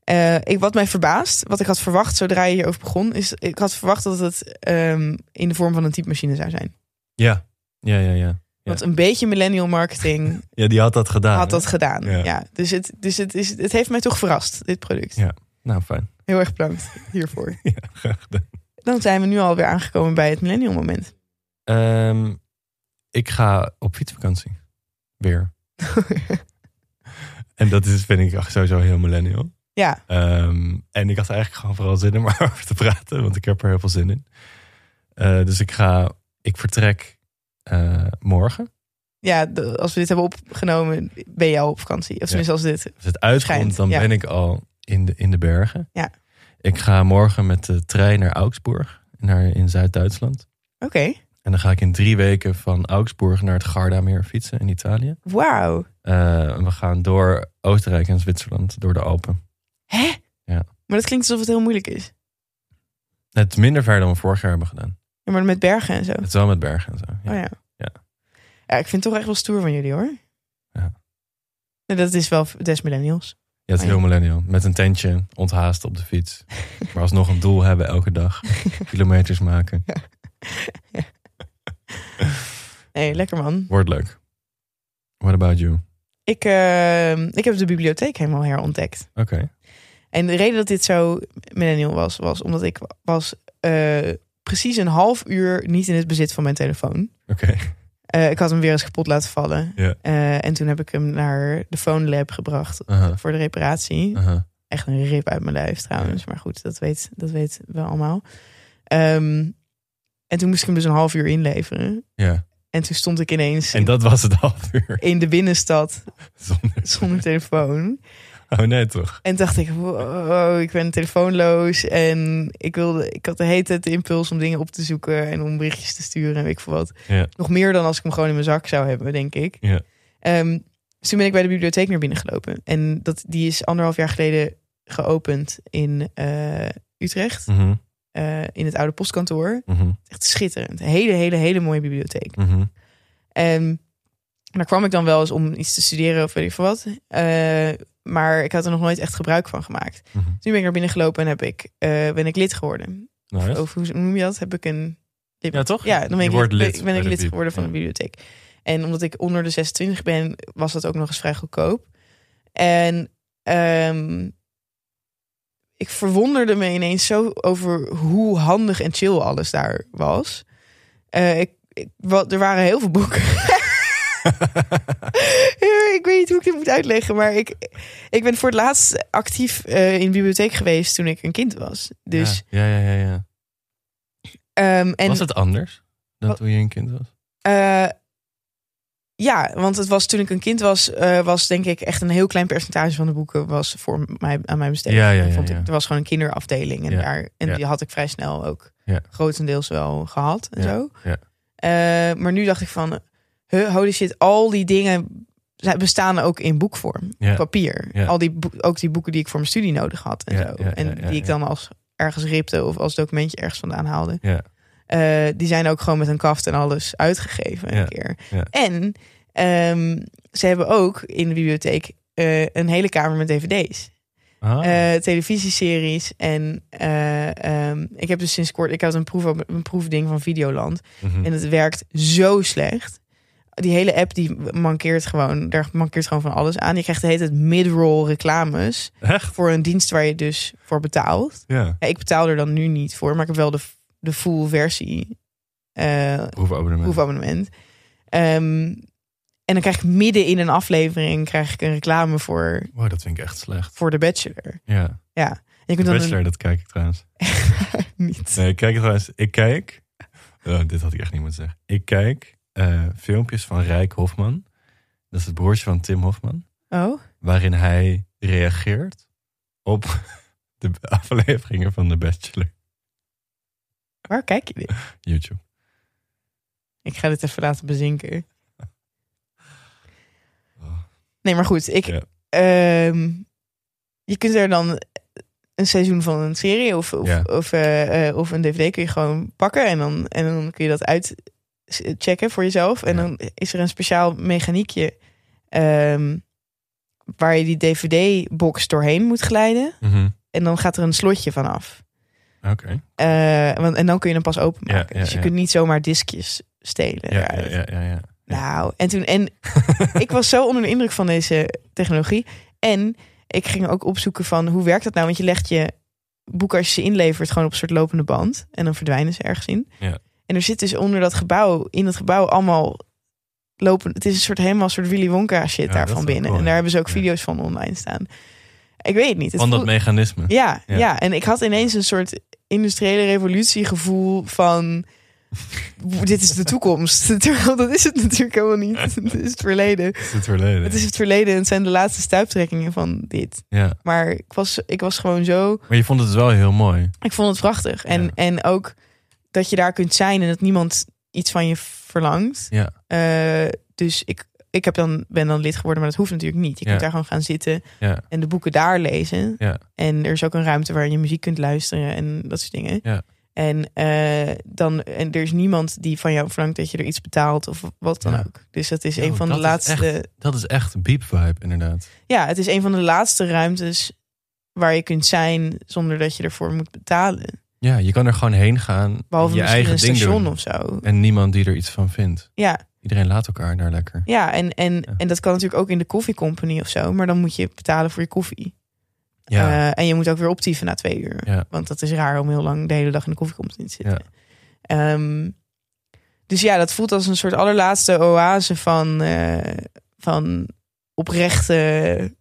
Speaker 1: Eh, ik, wat mij verbaast, wat ik had verwacht zodra je hierover begon, is ik had verwacht dat het ehm, in de vorm van een typemachine zou zijn.
Speaker 2: Ja, ja, ja. ja.
Speaker 1: Want een beetje millennial marketing
Speaker 2: Ja, die had dat gedaan.
Speaker 1: had
Speaker 2: hè?
Speaker 1: dat gedaan.
Speaker 2: Ah, Ja.
Speaker 1: Ja. Dus, het, dus het, is, het heeft mij toch verrast, dit product.
Speaker 2: Ja. Nou, fijn.
Speaker 1: Heel erg bedankt hiervoor.
Speaker 2: Ja, graag gedaan.
Speaker 1: Dan zijn we nu alweer aangekomen bij het millennial moment.
Speaker 2: Ehm, ik ga op fietsvakantie. Weer. En dat is, vind ik echt sowieso heel millennial.
Speaker 1: ja,
Speaker 2: Ehm, en ik had eigenlijk gewoon vooral zin om erover te praten, want ik heb er heel veel zin in. Eh, dus ik ga, ik vertrek eh, morgen.
Speaker 1: ja, de- als we dit hebben opgenomen, ben je al op vakantie. Of tenminste als dit.
Speaker 2: Als het uitkomt,
Speaker 1: Schijnt,
Speaker 2: dan
Speaker 1: ja.
Speaker 2: ben ik al in de, in de bergen.
Speaker 1: Ja.
Speaker 2: Ik ga morgen met de trein naar Augsburg, naar, in Zuid-Duitsland.
Speaker 1: Oké,
Speaker 2: En dan ga ik in drie weken van Augsburg naar het Gardameer fietsen in Italië.
Speaker 1: wauw.
Speaker 2: Eh, we gaan door Oostenrijk en Zwitserland, door de Alpen.
Speaker 1: Hè?
Speaker 2: Ja.
Speaker 1: Maar dat klinkt alsof het heel moeilijk is.
Speaker 2: Het is minder ver dan we vorig jaar hebben gedaan.
Speaker 1: Ja, maar met bergen en zo.
Speaker 2: Het is wel met bergen en zo.
Speaker 1: Oh ja.
Speaker 2: Ja.
Speaker 1: Ja, ik vind het toch echt wel stoer van jullie hoor.
Speaker 2: Ja.
Speaker 1: Nou, dat is wel des millennials.
Speaker 2: Ja, het is
Speaker 1: Oh ja.
Speaker 2: heel millennial. Met een tentje, onthaast op de fiets. Maar alsnog een doel hebben elke dag. Kilometers maken.
Speaker 1: Nee, lekker man.
Speaker 2: Wordt leuk. What about you? Oké.
Speaker 1: Ik, eh, ik heb de bibliotheek helemaal herontdekt. En de reden dat dit zo millennial was, was omdat ik was eh, precies een half uur niet in het bezit van mijn telefoon.
Speaker 2: Oké.
Speaker 1: Eh, ik had hem weer eens kapot laten vallen.
Speaker 2: Ja.
Speaker 1: Eh, en toen heb ik hem naar de phone lab gebracht
Speaker 2: Aha,
Speaker 1: voor de reparatie.
Speaker 2: aha.
Speaker 1: Echt een rip uit mijn lijf trouwens. Maar goed, dat weet, dat weten we allemaal. Ehm, en toen moest ik hem dus een half uur inleveren.
Speaker 2: Ja.
Speaker 1: En toen stond ik ineens
Speaker 2: En dat was het half uur.
Speaker 1: in de binnenstad
Speaker 2: Zonder.
Speaker 1: zonder telefoon.
Speaker 2: Oh nee, toch?
Speaker 1: En dacht ik, wow, ik ben telefoonloos. En ik, wilde, ik had de hele tijd de impuls om dingen op te zoeken en om berichtjes te sturen en weet ik veel wat.
Speaker 2: Ja.
Speaker 1: Nog meer dan als ik hem gewoon in mijn zak zou hebben, denk ik.
Speaker 2: Ja.
Speaker 1: Ehm, dus toen ben ik bij de bibliotheek naar binnen gelopen. En dat, die is anderhalf jaar geleden geopend in eh, Utrecht.
Speaker 2: Mhm,
Speaker 1: eh, in het oude postkantoor.
Speaker 2: mhm,
Speaker 1: Echt schitterend. Een hele, hele, hele mooie bibliotheek.
Speaker 2: mhm.
Speaker 1: En daar kwam ik dan wel eens om iets te studeren of weet ik veel wat. Eh, maar ik had er nog nooit echt gebruik van gemaakt. Dus
Speaker 2: Mhm.
Speaker 1: nu ben ik naar binnen gelopen en heb ik, eh, ben ik lid geworden. Of,
Speaker 2: Nice.
Speaker 1: of hoe noem je dat? Heb ik een...
Speaker 2: Ja, toch?
Speaker 1: Ja, dan ben
Speaker 2: Je
Speaker 1: ik
Speaker 2: wordt
Speaker 1: lid,
Speaker 2: lid
Speaker 1: ben- ben
Speaker 2: bij
Speaker 1: ik
Speaker 2: de
Speaker 1: lid
Speaker 2: bib-
Speaker 1: geworden van
Speaker 2: ja.
Speaker 1: de bibliotheek. En omdat ik onder de 26 ben, was dat ook nog eens vrij goedkoop. En ehm, ik verwonderde me ineens zo over hoe handig en chill alles daar was. Eh, ik, ik- wat, er waren heel veel boeken. Ja, ik weet niet hoe ik dit moet uitleggen, maar ik, ik ben voor het laatst actief eh, in de bibliotheek geweest toen ik een kind was. Dus,
Speaker 2: Ja, ja, ja. ja, ja.
Speaker 1: ehm, en,
Speaker 2: was het anders dan
Speaker 1: Wat-
Speaker 2: toen je een kind was?
Speaker 1: Eh, ja, want het was toen ik een kind was, eh, was denk ik echt een heel klein percentage van de boeken was voor mij aan mij besteed.
Speaker 2: Ja, ja, ja,
Speaker 1: Vond ik,
Speaker 2: ja.
Speaker 1: er was gewoon een kinderafdeling en
Speaker 2: Ja,
Speaker 1: daar en
Speaker 2: ja.
Speaker 1: die had ik vrij snel ook
Speaker 2: Ja.
Speaker 1: grotendeels wel gehad en
Speaker 2: Ja,
Speaker 1: zo.
Speaker 2: ja.
Speaker 1: Eh, maar nu dacht ik van, huh, holy shit, al die dingen zij bestaan ook in boekvorm,
Speaker 2: Ja.
Speaker 1: op papier.
Speaker 2: Ja.
Speaker 1: Al die boek- ook die boeken die ik voor mijn studie nodig had en
Speaker 2: Ja,
Speaker 1: zo,
Speaker 2: ja, ja,
Speaker 1: en
Speaker 2: ja,
Speaker 1: die ik
Speaker 2: ja.
Speaker 1: dan als ergens ripte of als documentje ergens vandaan haalde.
Speaker 2: Ja.
Speaker 1: Eh, die zijn ook gewoon met een kaft en alles uitgegeven een
Speaker 2: Ja,
Speaker 1: keer.
Speaker 2: ja.
Speaker 1: En ehm, ze hebben ook in de bibliotheek eh, een hele kamer met dvd's.
Speaker 2: Ah,
Speaker 1: Eh, televisieseries. En eh, ehm, ik heb dus sinds kort... Ik had een, proef, een proefding van Videoland.
Speaker 2: mhm.
Speaker 1: En het werkt zo slecht. Die hele app die mankeert gewoon... Daar mankeert gewoon van alles aan. Je krijgt de hele tijd mid-roll reclames...
Speaker 2: Echt?
Speaker 1: voor een dienst waar je dus voor betaalt.
Speaker 2: Ja.
Speaker 1: Ja, ik betaal er dan nu niet voor, maar ik heb wel de, de full versie eh
Speaker 2: Proefabonnement.
Speaker 1: proefabonnement. Ehm, En dan krijg ik midden in een aflevering krijg ik een reclame voor,
Speaker 2: Wow, dat vind ik echt slecht.
Speaker 1: voor The Bachelor.
Speaker 2: Ja.
Speaker 1: En je
Speaker 2: De
Speaker 1: kunt dan
Speaker 2: Bachelor, dat kijk ik trouwens.
Speaker 1: Een, niet.
Speaker 2: Nee, ik kijk trouwens. Ik kijk. Oh, dit had ik echt niet moeten zeggen. Ik kijk eh, filmpjes van Rijk Hofman. Dat is het broertje van Tim Hofman.
Speaker 1: Oh,
Speaker 2: Waarin hij reageert op de afleveringen van The Bachelor.
Speaker 1: waar kijk je dit?
Speaker 2: YouTube.
Speaker 1: Ik ga dit even laten bezinken.
Speaker 2: Oh,
Speaker 1: Nee, maar goed. Ik,
Speaker 2: Ja.
Speaker 1: ehm, je kunt er dan een seizoen van een serie of, of,
Speaker 2: Ja.
Speaker 1: of, eh, eh, of een dvd kun je gewoon pakken. En dan, en dan kun je dat uitchecken voor jezelf. En
Speaker 2: Ja.
Speaker 1: dan is er een speciaal mechaniekje ehm, waar je die dvd-box doorheen moet glijden.
Speaker 2: mhm.
Speaker 1: En dan gaat er een slotje van af.
Speaker 2: Oké.
Speaker 1: Eh, want, en dan kun je hem pas openmaken.
Speaker 2: Ja, ja,
Speaker 1: dus je
Speaker 2: ja.
Speaker 1: kunt niet zomaar diskjes stelen.
Speaker 2: Ja,
Speaker 1: eruit.
Speaker 2: ja, ja, ja, ja.
Speaker 1: Nou, en toen. En ik was zo onder de indruk van deze technologie. En ik ging ook opzoeken van hoe werkt dat nou? Want je legt je boeken als je ze inlevert gewoon op een soort lopende band. En dan verdwijnen ze ergens in.
Speaker 2: Ja.
Speaker 1: En er zit dus onder dat gebouw, in dat gebouw allemaal lopen. Het is een soort helemaal een soort Willy Wonka shit
Speaker 2: Ja,
Speaker 1: daar
Speaker 2: dat
Speaker 1: daarvan
Speaker 2: is wel
Speaker 1: binnen.
Speaker 2: cool,
Speaker 1: en
Speaker 2: ja.
Speaker 1: daar hebben ze ook
Speaker 2: Ja.
Speaker 1: video's van online staan. Ik weet het niet. Het
Speaker 2: Van dat
Speaker 1: voel-
Speaker 2: mechanisme.
Speaker 1: ja,
Speaker 2: Ja.
Speaker 1: ja, en ik had ineens een soort industriële revolutiegevoel van... "Woe, dit is de toekomst. Terwijl dat is het natuurlijk helemaal niet. Het is het verleden.
Speaker 2: Het is het verleden.
Speaker 1: Het is het verleden en het zijn de laatste stuiptrekkingen van dit.
Speaker 2: Ja.
Speaker 1: Maar ik was, ik was gewoon zo...
Speaker 2: Maar je vond het wel heel mooi.
Speaker 1: Ik vond het prachtig. En,
Speaker 2: Ja.
Speaker 1: en ook dat je daar kunt zijn en dat niemand iets van je verlangt.
Speaker 2: Ja.
Speaker 1: Eh, dus ik, ik heb dan, ben dan lid geworden, maar dat hoeft natuurlijk niet. Je
Speaker 2: Ja.
Speaker 1: kunt daar gewoon gaan zitten
Speaker 2: Ja.
Speaker 1: en de boeken daar lezen.
Speaker 2: Ja.
Speaker 1: En er is ook een ruimte waar je muziek kunt luisteren en dat soort dingen.
Speaker 2: Ja.
Speaker 1: En, eh, dan, en er is niemand die van jou verlangt dat je er iets betaalt of wat dan
Speaker 2: Ja.
Speaker 1: ook. Dus dat is
Speaker 2: Yo,
Speaker 1: een van de
Speaker 2: dat is
Speaker 1: laatste.
Speaker 2: echt- Dat is echt een beep vibe, inderdaad.
Speaker 1: Ja, het is een van de laatste ruimtes waar je kunt zijn zonder dat je ervoor moet betalen.
Speaker 2: Ja, je kan er gewoon heen gaan.
Speaker 1: Behalve
Speaker 2: je
Speaker 1: misschien
Speaker 2: eigen
Speaker 1: een
Speaker 2: ding
Speaker 1: station
Speaker 2: doen.
Speaker 1: of zo.
Speaker 2: En niemand die er iets van vindt.
Speaker 1: Ja.
Speaker 2: Iedereen laat elkaar daar lekker.
Speaker 1: Ja, en, en,
Speaker 2: Ja.
Speaker 1: en dat kan natuurlijk ook in de koffiecompany of zo. Maar dan moet je betalen voor je koffie.
Speaker 2: Ja,
Speaker 1: Eh, en je moet ook weer optieven na twee uur.
Speaker 2: Ja.
Speaker 1: Want dat is raar om heel lang de hele dag in de koffiecompany te
Speaker 2: Ja.
Speaker 1: zitten. Ehm, dus ja, dat voelt als een soort allerlaatste oase van, eh, van oprechte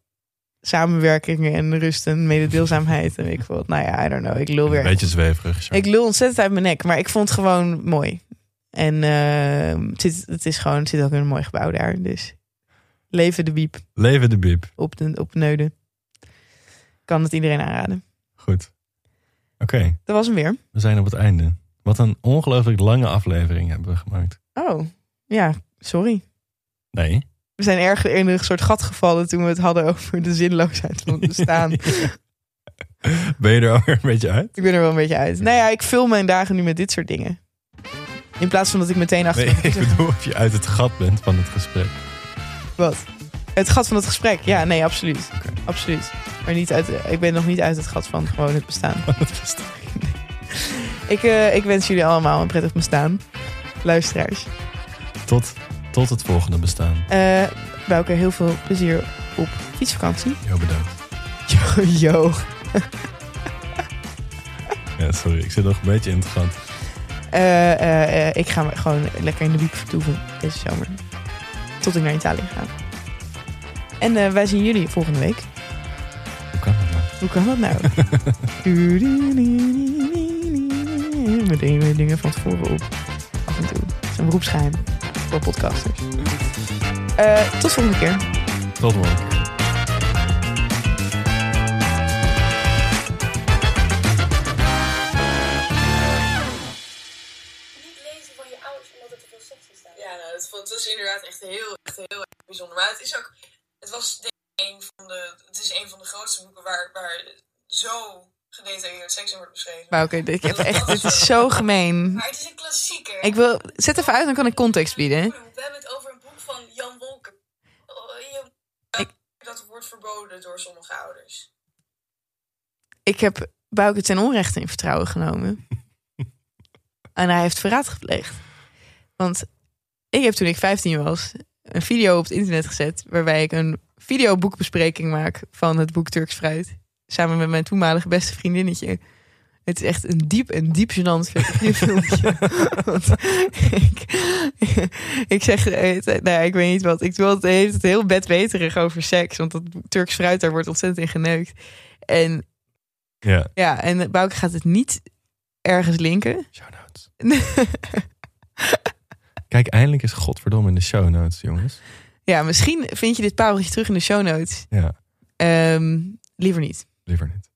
Speaker 1: samenwerking en rust en mededeelzaamheid. en ik vond, nou ja, I don't know, ik lul
Speaker 2: een
Speaker 1: weer.
Speaker 2: beetje zweverig. zo.
Speaker 1: Ik lul ontzettend uit mijn nek, maar ik vond het gewoon mooi. En eh, het, zit, het is gewoon, het zit ook in een mooi gebouw daar. Dus leven de biep
Speaker 2: Leven de beep.
Speaker 1: op, de, op neuden. Kan het iedereen aanraden.
Speaker 2: Goed. Oké,
Speaker 1: Dat was hem weer.
Speaker 2: we zijn op het einde. Wat een ongelooflijk lange aflevering hebben we gemaakt.
Speaker 1: Oh, ja, sorry.
Speaker 2: Nee.
Speaker 1: We zijn erg in een soort gat gevallen toen we het hadden over de zinloosheid van het bestaan.
Speaker 2: ben je er alweer een beetje uit?
Speaker 1: ik ben er wel een beetje uit. Nou ja, ik vul mijn dagen nu met dit soort dingen. In plaats van dat ik meteen achter...
Speaker 2: Nee, ik bedoel of je uit het gat bent van het gesprek.
Speaker 1: Wat? Het gat van het gesprek. Ja, nee, absoluut.
Speaker 2: Oké.
Speaker 1: Absoluut. Maar niet uit, eh, ik ben nog niet uit het gat van gewoon het bestaan.
Speaker 2: Van het gesprek.
Speaker 1: Ik, eh, ik wens jullie allemaal een prettig bestaan. Luisteraars.
Speaker 2: Tot, tot het volgende bestaan.
Speaker 1: Eh bij elkaar heel veel plezier op fietsvakantie.
Speaker 2: Heel bedankt.
Speaker 1: Yo, yo.
Speaker 2: Ja, sorry, ik zit nog een beetje in het gat.
Speaker 1: Eh, eh, eh, ik ga me gewoon lekker in de wiek vertoeven deze zomer. Tot ik naar Italië ga. En eh, wij zien jullie volgende week.
Speaker 2: Hoe kan dat nou?
Speaker 1: Hoe kan dat nou? Met dingen, dingen van tevoren op. Af en toe. Het is een beroepsgeheim voor podcasters. Eh, tot volgende keer.
Speaker 2: Tot morgen.
Speaker 4: niet lezen van je ouders omdat het te veel seks in staat.
Speaker 5: Ja, nou, dat, vond, dat is inderdaad echt heel, echt heel erg bijzonder. Maar het is ook, het was denk ik een van de, het is een van de grootste boeken waar, waar zo gedetailleerd seks in wordt beschreven.
Speaker 1: Maar Nou, oké, dit, ik heb echt, dit is zo gemeen.
Speaker 4: Maar het is een klassieker.
Speaker 1: Ik wil, zet even uit, dan kan ik context bieden.
Speaker 4: We hebben het over een boek van Jan Wolken. Oh, je-
Speaker 5: Dat wordt verboden door sommige ouders.
Speaker 1: Ik heb Bouke ten onrechte in vertrouwen genomen. En hij heeft verraad gepleegd. Want ik heb toen ik 15 was een video op het internet gezet... waarbij ik een videoboekbespreking maak van het boek Turks Fruit. Samen met mijn toenmalige beste vriendinnetje. Het is echt een diep en diep gênant fil- filmpje. Want ik, ik zeg, de hele tijd- nou ja, ik weet niet wat. Ik doe altijd de hele tijd heel bedweterig over seks. Want dat Turks fruit, daar wordt ontzettend in geneukt. En
Speaker 2: Ja.
Speaker 1: ja, en Bouke gaat het niet ergens linken.
Speaker 2: Show notes. Kijk, eindelijk is godverdomme in de show notes, jongens.
Speaker 1: ja, misschien vind je dit pareltje terug in de show notes.
Speaker 2: Ja,
Speaker 1: Ehm, liever niet.
Speaker 2: liever niet.